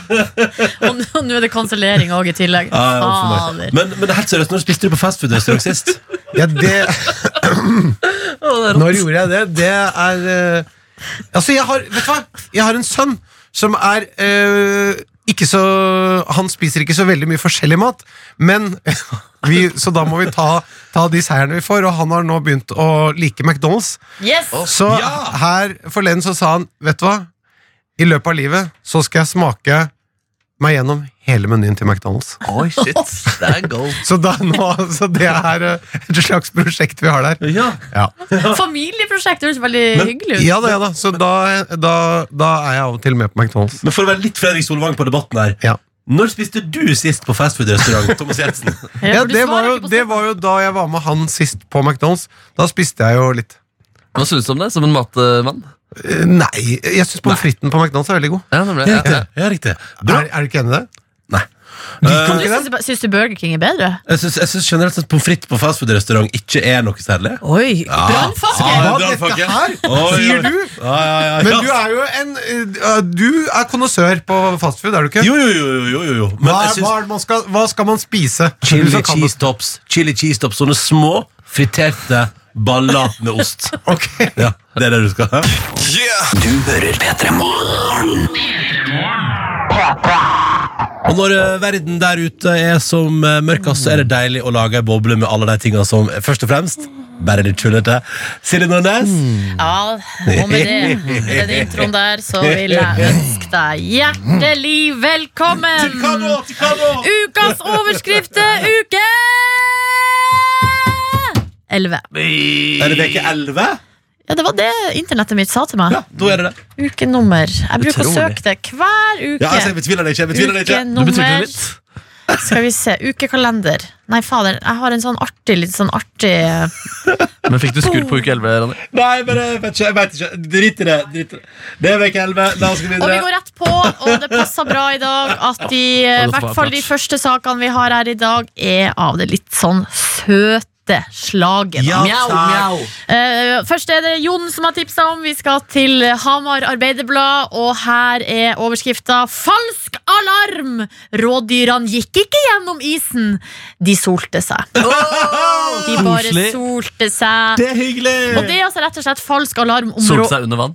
Speaker 3: Og nå- og nå er det kansellering òg i tillegg.
Speaker 2: Ja, ja, for
Speaker 3: Fader.
Speaker 2: meg. Men, men helt seriøst, når spiste du på fastfood-restaurant sist?
Speaker 9: Ja, det Når gjorde jeg det? Det er eh, Altså, jeg har Vet du hva? Jeg har en sønn som er eh, ikke så Han spiser ikke så veldig mye forskjellig mat, men vi, Så da må vi ta, ta de seierne vi får, og han har nå begynt å like McDonald's.
Speaker 3: Yes!
Speaker 9: Så her forleden så sa han Vet du hva? I løpet av livet så skal jeg smake meg gjennom hele menyen til McDonald's.
Speaker 4: Oi, shit. Det er gold.
Speaker 9: Så, da, nå, så det er eh, et slags prosjekt vi har der.
Speaker 2: Ja.
Speaker 9: Ja.
Speaker 3: Familieprosjekt det høres veldig hyggelig ut.
Speaker 9: Ja da, ja da. Så da, da, da er jeg av og til med på McDonald's.
Speaker 2: Men for å være litt Fredrik Solvang på debatten her.
Speaker 9: Ja.
Speaker 2: Når spiste du sist på fastfood-restaurant, Thomas Gjertsen?
Speaker 3: Ja,
Speaker 9: Ja,
Speaker 3: for du
Speaker 9: det, var
Speaker 3: svarer
Speaker 9: jo,
Speaker 3: ikke på
Speaker 9: det var jo da jeg var med han sist på McDonald's. Da spiste jeg jo litt.
Speaker 4: Hva synes du om det, som en matmann?
Speaker 9: Eh, Nei, jeg syns pommes fritesen på McDonald's er veldig god.
Speaker 4: Ja, nemlig. Ja, ja.
Speaker 2: ja, riktig. Bra.
Speaker 9: Er, er du ikke enig i det?
Speaker 2: Nei. Eh,
Speaker 3: Du
Speaker 9: Liker du ikke
Speaker 3: syns,
Speaker 9: den?
Speaker 3: syns du Burger King er bedre?
Speaker 2: Jeg syns, jeg syns generelt at pommes frites på fastfood-restaurant ikke er noe særlig.
Speaker 3: Oi! Brannfakke!
Speaker 9: Hva
Speaker 2: det er
Speaker 9: dette
Speaker 2: fakke.
Speaker 9: her?
Speaker 2: Ah, Oi,
Speaker 9: Sier
Speaker 2: oi.
Speaker 9: du?
Speaker 2: Ja, ja, ja,
Speaker 9: Men
Speaker 2: ja.
Speaker 9: du er jo en eh, Du er konnoissør på fastfood, er du ikke?
Speaker 2: Jo, jo, jo. jo, jo, jo. Men
Speaker 9: Hva,
Speaker 2: jeg
Speaker 9: hva,
Speaker 2: syns
Speaker 9: er det man skal, hva skal man spise? Du
Speaker 2: chili
Speaker 9: som kan det.
Speaker 2: cheese tops, chili cheese tops, sånne små friterte baller med ost.
Speaker 9: Ok.
Speaker 2: Ja, Det er det du skal ha. Og når eh, verden der ute er som eh, mørkest, så er det deilig å lage ei boble med alle de tinga som eh, først og fremst bare er litt tullete. Silje Nordnes,
Speaker 9: Mm.
Speaker 3: Ja, og med det, med den introen der, så vil jeg ønske deg hjertelig velkommen! Ukas overskrift er uke 11.
Speaker 2: er det veke 11?
Speaker 3: Ja, det var det internettet mitt sa til meg.
Speaker 2: Ja, da er det det.
Speaker 3: Ukenummer. Jeg bruker å
Speaker 4: Utrolig.
Speaker 3: søke det hver uke.
Speaker 2: Ja, altså, jeg betviler det ikke. Jeg betviler det ikke.
Speaker 4: Du betviler
Speaker 3: Ukenummer.
Speaker 4: litt.
Speaker 3: Skal vi se. Ukekalender. Nei, fader. Jeg har en sånn artig, litt sånn artig
Speaker 4: Men fikk du skur på uke 11, Ronny?
Speaker 2: Nei, men jeg vet ikke. Jeg vet ikke. Drit i det. Drit i det. det er veke 11. La oss gå
Speaker 3: Og vi
Speaker 2: videre.
Speaker 3: går rett på, og det passer bra i dag at de, i hvert fall de første sakene vi har her i dag, er av det litt sånn søte slaget.
Speaker 2: Ja, takk.
Speaker 3: Eh, først er det Jon som har tipsa om. Vi skal til Hamar Arbeiderblad, og her er overskrifta 'Falsk alarm'! Rådyrene gikk ikke gjennom isen. De solte seg. de bare
Speaker 4: koselig.
Speaker 3: solte seg.
Speaker 2: Det er hyggelig.
Speaker 3: Og det er altså rett og slett falsk alarm om
Speaker 4: Solte
Speaker 3: rå...
Speaker 4: seg under vann.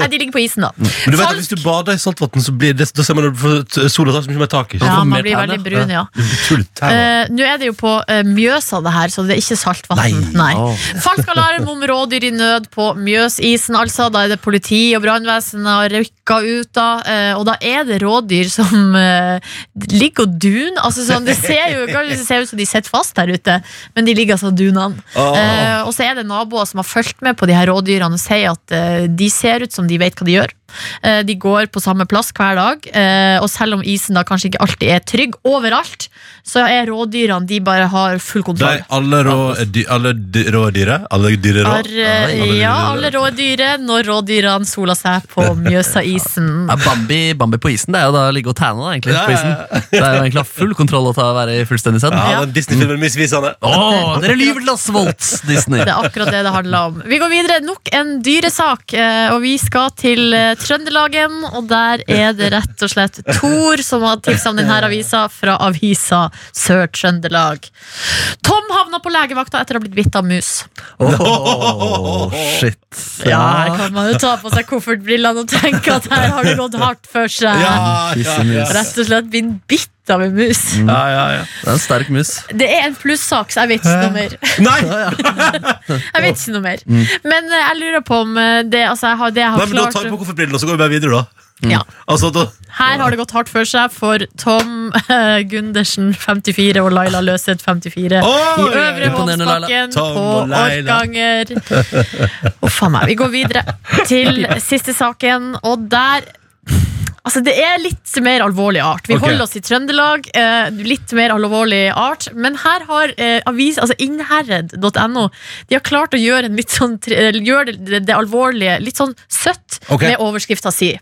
Speaker 3: Nei, de ligger på isen, da.
Speaker 2: Mm. Men du vet at
Speaker 3: Falsk-
Speaker 2: Hvis du bader i saltvann, så blir det, da ser man at du får t- sola tar så mye mer tak i.
Speaker 3: Ja,
Speaker 4: får
Speaker 3: man
Speaker 4: mer
Speaker 3: blir
Speaker 4: tær,
Speaker 3: veldig
Speaker 4: da.
Speaker 3: brun, ja.
Speaker 2: Du blir tullet her.
Speaker 3: Eh, Nå er det jo på eh, Mjøsa, det her, så det er ikke saltvann.
Speaker 2: Nei.
Speaker 4: Åh.
Speaker 3: Falsk alarm om rådyr i nød på Mjøsisen, altså. Da er det politi og brannvesenet har rykka ut, da. eh, Og da er det rådyr som eh, ligger og duner. Altså, sånn, det ser jo kan det se ut som de sitter fast der ute, men de ligger altså og duner.
Speaker 2: Åh.
Speaker 3: Eh, og så er det naboer som har fulgt med på de her rådyrene og sier at eh, de ser ut som de vet hva de gjør. Eh, de går på samme plass hver dag, eh, og selv om isen da kanskje ikke alltid er trygg overalt, så er rådyrene de bare har full
Speaker 2: De,
Speaker 3: kontroll.
Speaker 2: alle rå, dy, alle dy, rådyra? Alle dyre rå?
Speaker 3: Har, eh, ja, alle rådyret når rådyrene sola seg på Mjøsaisen.
Speaker 4: Ja, Bambi, Bambi på isen, det er jo da å ligge og tæne da, egentlig, på isen. Det er jo egentlig å ha full kontroll og ta å være i fullstendig send.
Speaker 2: Ja,
Speaker 3: Ja.
Speaker 2: den Disney-filmen misvisende.
Speaker 4: Åh, dere lyver til oss, Volt Disney.
Speaker 3: Det er akkurat det det handler om. Vi går videre. Nok en dyresak. eh, Og vi skal til eh, Trøndelagen, og der er det rett og slett Tor som har tipsa om denne avisa fra avisa Sør-Trøndelag. Tom Som havna på legevakta etter å ha blitt bitt av mus.
Speaker 2: Åh,
Speaker 4: shit.
Speaker 3: Ja, her kan man jo ta på seg koffertbrillene og tenke at her har det gått hardt for seg.
Speaker 2: Ja, ja, ja.
Speaker 3: Rett og slett blitt bitt av en mus.
Speaker 5: Ja, ja, ja.
Speaker 4: Det er en sterk mus.
Speaker 3: Det er en plussak, så jeg vet ikke noe mer.
Speaker 2: Nei!
Speaker 3: Jeg vet ikke noe mer. Men eh, jeg lurer på om eh, det, altså, jeg har, det jeg
Speaker 2: Mm. Nei,
Speaker 3: har
Speaker 2: men Da tar vi på
Speaker 3: klart Mm.
Speaker 2: koffertbrillene, og så går vi bare videre, da.
Speaker 3: ja.
Speaker 2: Altså, da
Speaker 3: Her har det gått hardt for seg for Tom eh, Gundersen, 54, og Laila Løseth, 54. I
Speaker 2: Oi!
Speaker 3: Øvre
Speaker 4: Imponerende, Laila.
Speaker 3: Håndsbakken,
Speaker 2: Tom
Speaker 3: på
Speaker 2: og Laila.
Speaker 3: Orkanger. Uff a meg. Vi går videre til siste saken, og der Altså, det er litt mer alvorlig art. Vi
Speaker 2: Ok.
Speaker 3: holder oss i Trøndelag. Eh, litt mer alvorlig art. Men her har eh, avis, altså innherred.no De har klart å gjøre, en litt sånn, tre- eller gjøre det, det, det alvorlige litt sånn søtt
Speaker 2: Ok.
Speaker 3: med overskrifta si.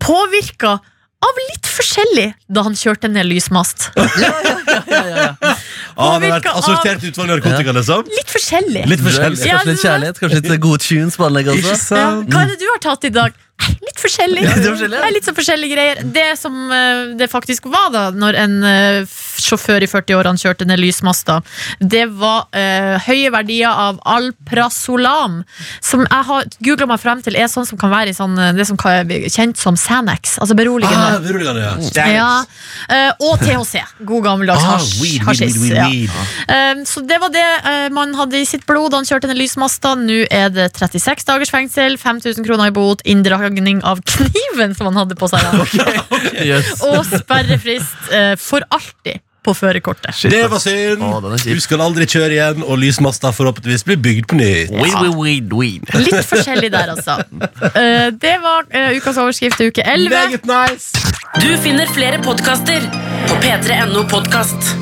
Speaker 3: Påvirka av litt forskjellig da han kjørte ned lysmast.
Speaker 2: ah, det har vært
Speaker 3: Påvirka av-
Speaker 2: assortert utvalg narkotika, liksom?
Speaker 3: Litt forskjellig.
Speaker 2: Litt
Speaker 4: Drugs,
Speaker 2: forskjellig.
Speaker 3: Ja,
Speaker 4: Kanskje litt kjærlighet, kanskje litt gode tunes på anlegget
Speaker 2: Ikke
Speaker 4: også.
Speaker 3: Ja,
Speaker 2: sant?
Speaker 3: hva er det du har tatt i dag? Nei, Litt forskjellig.
Speaker 4: Ja, litt forskjellig, ja.
Speaker 3: Nei, litt sånn forskjellige greier. Det som eh, det faktisk var da Når en eh, f- sjåfør i 40-årene kjørte ned lysmasta, det var eh, høye verdier av alprazolam, som jeg har googla meg frem til er sånn som kan være i sånn, eh, det som kan- er kjent som Sanax, altså beroligende.
Speaker 2: Ah, beroligende, ja.
Speaker 3: Ja, eh, og THC. God gammeldags
Speaker 2: Ah,
Speaker 3: hasj.
Speaker 2: weed, weed,
Speaker 3: hasjis,
Speaker 2: weed, weed,
Speaker 3: ja.
Speaker 2: weed.
Speaker 3: Eh, Så det var det eh, man hadde i sitt blod da han kjørte ned lysmasta. Nå er det 36 dagers fengsel, 5000 kroner i bot, inndragning av kniven som han hadde på seg, da,
Speaker 4: Yes.
Speaker 3: og sperrefrist eh, for alltid på førerkortet.
Speaker 2: Det var synd!
Speaker 4: Å, den er kjip.
Speaker 2: Du skal aldri kjøre igjen, og lysmasta forhåpentligvis blir bygd på nytt.
Speaker 4: Weed, weed, weed, weed.
Speaker 3: Litt forskjellig der, altså. Eh, Det var eh, ukas overskrift i uke 11.
Speaker 2: Meget nice!
Speaker 6: Du finner flere podkaster på p3.no podkast.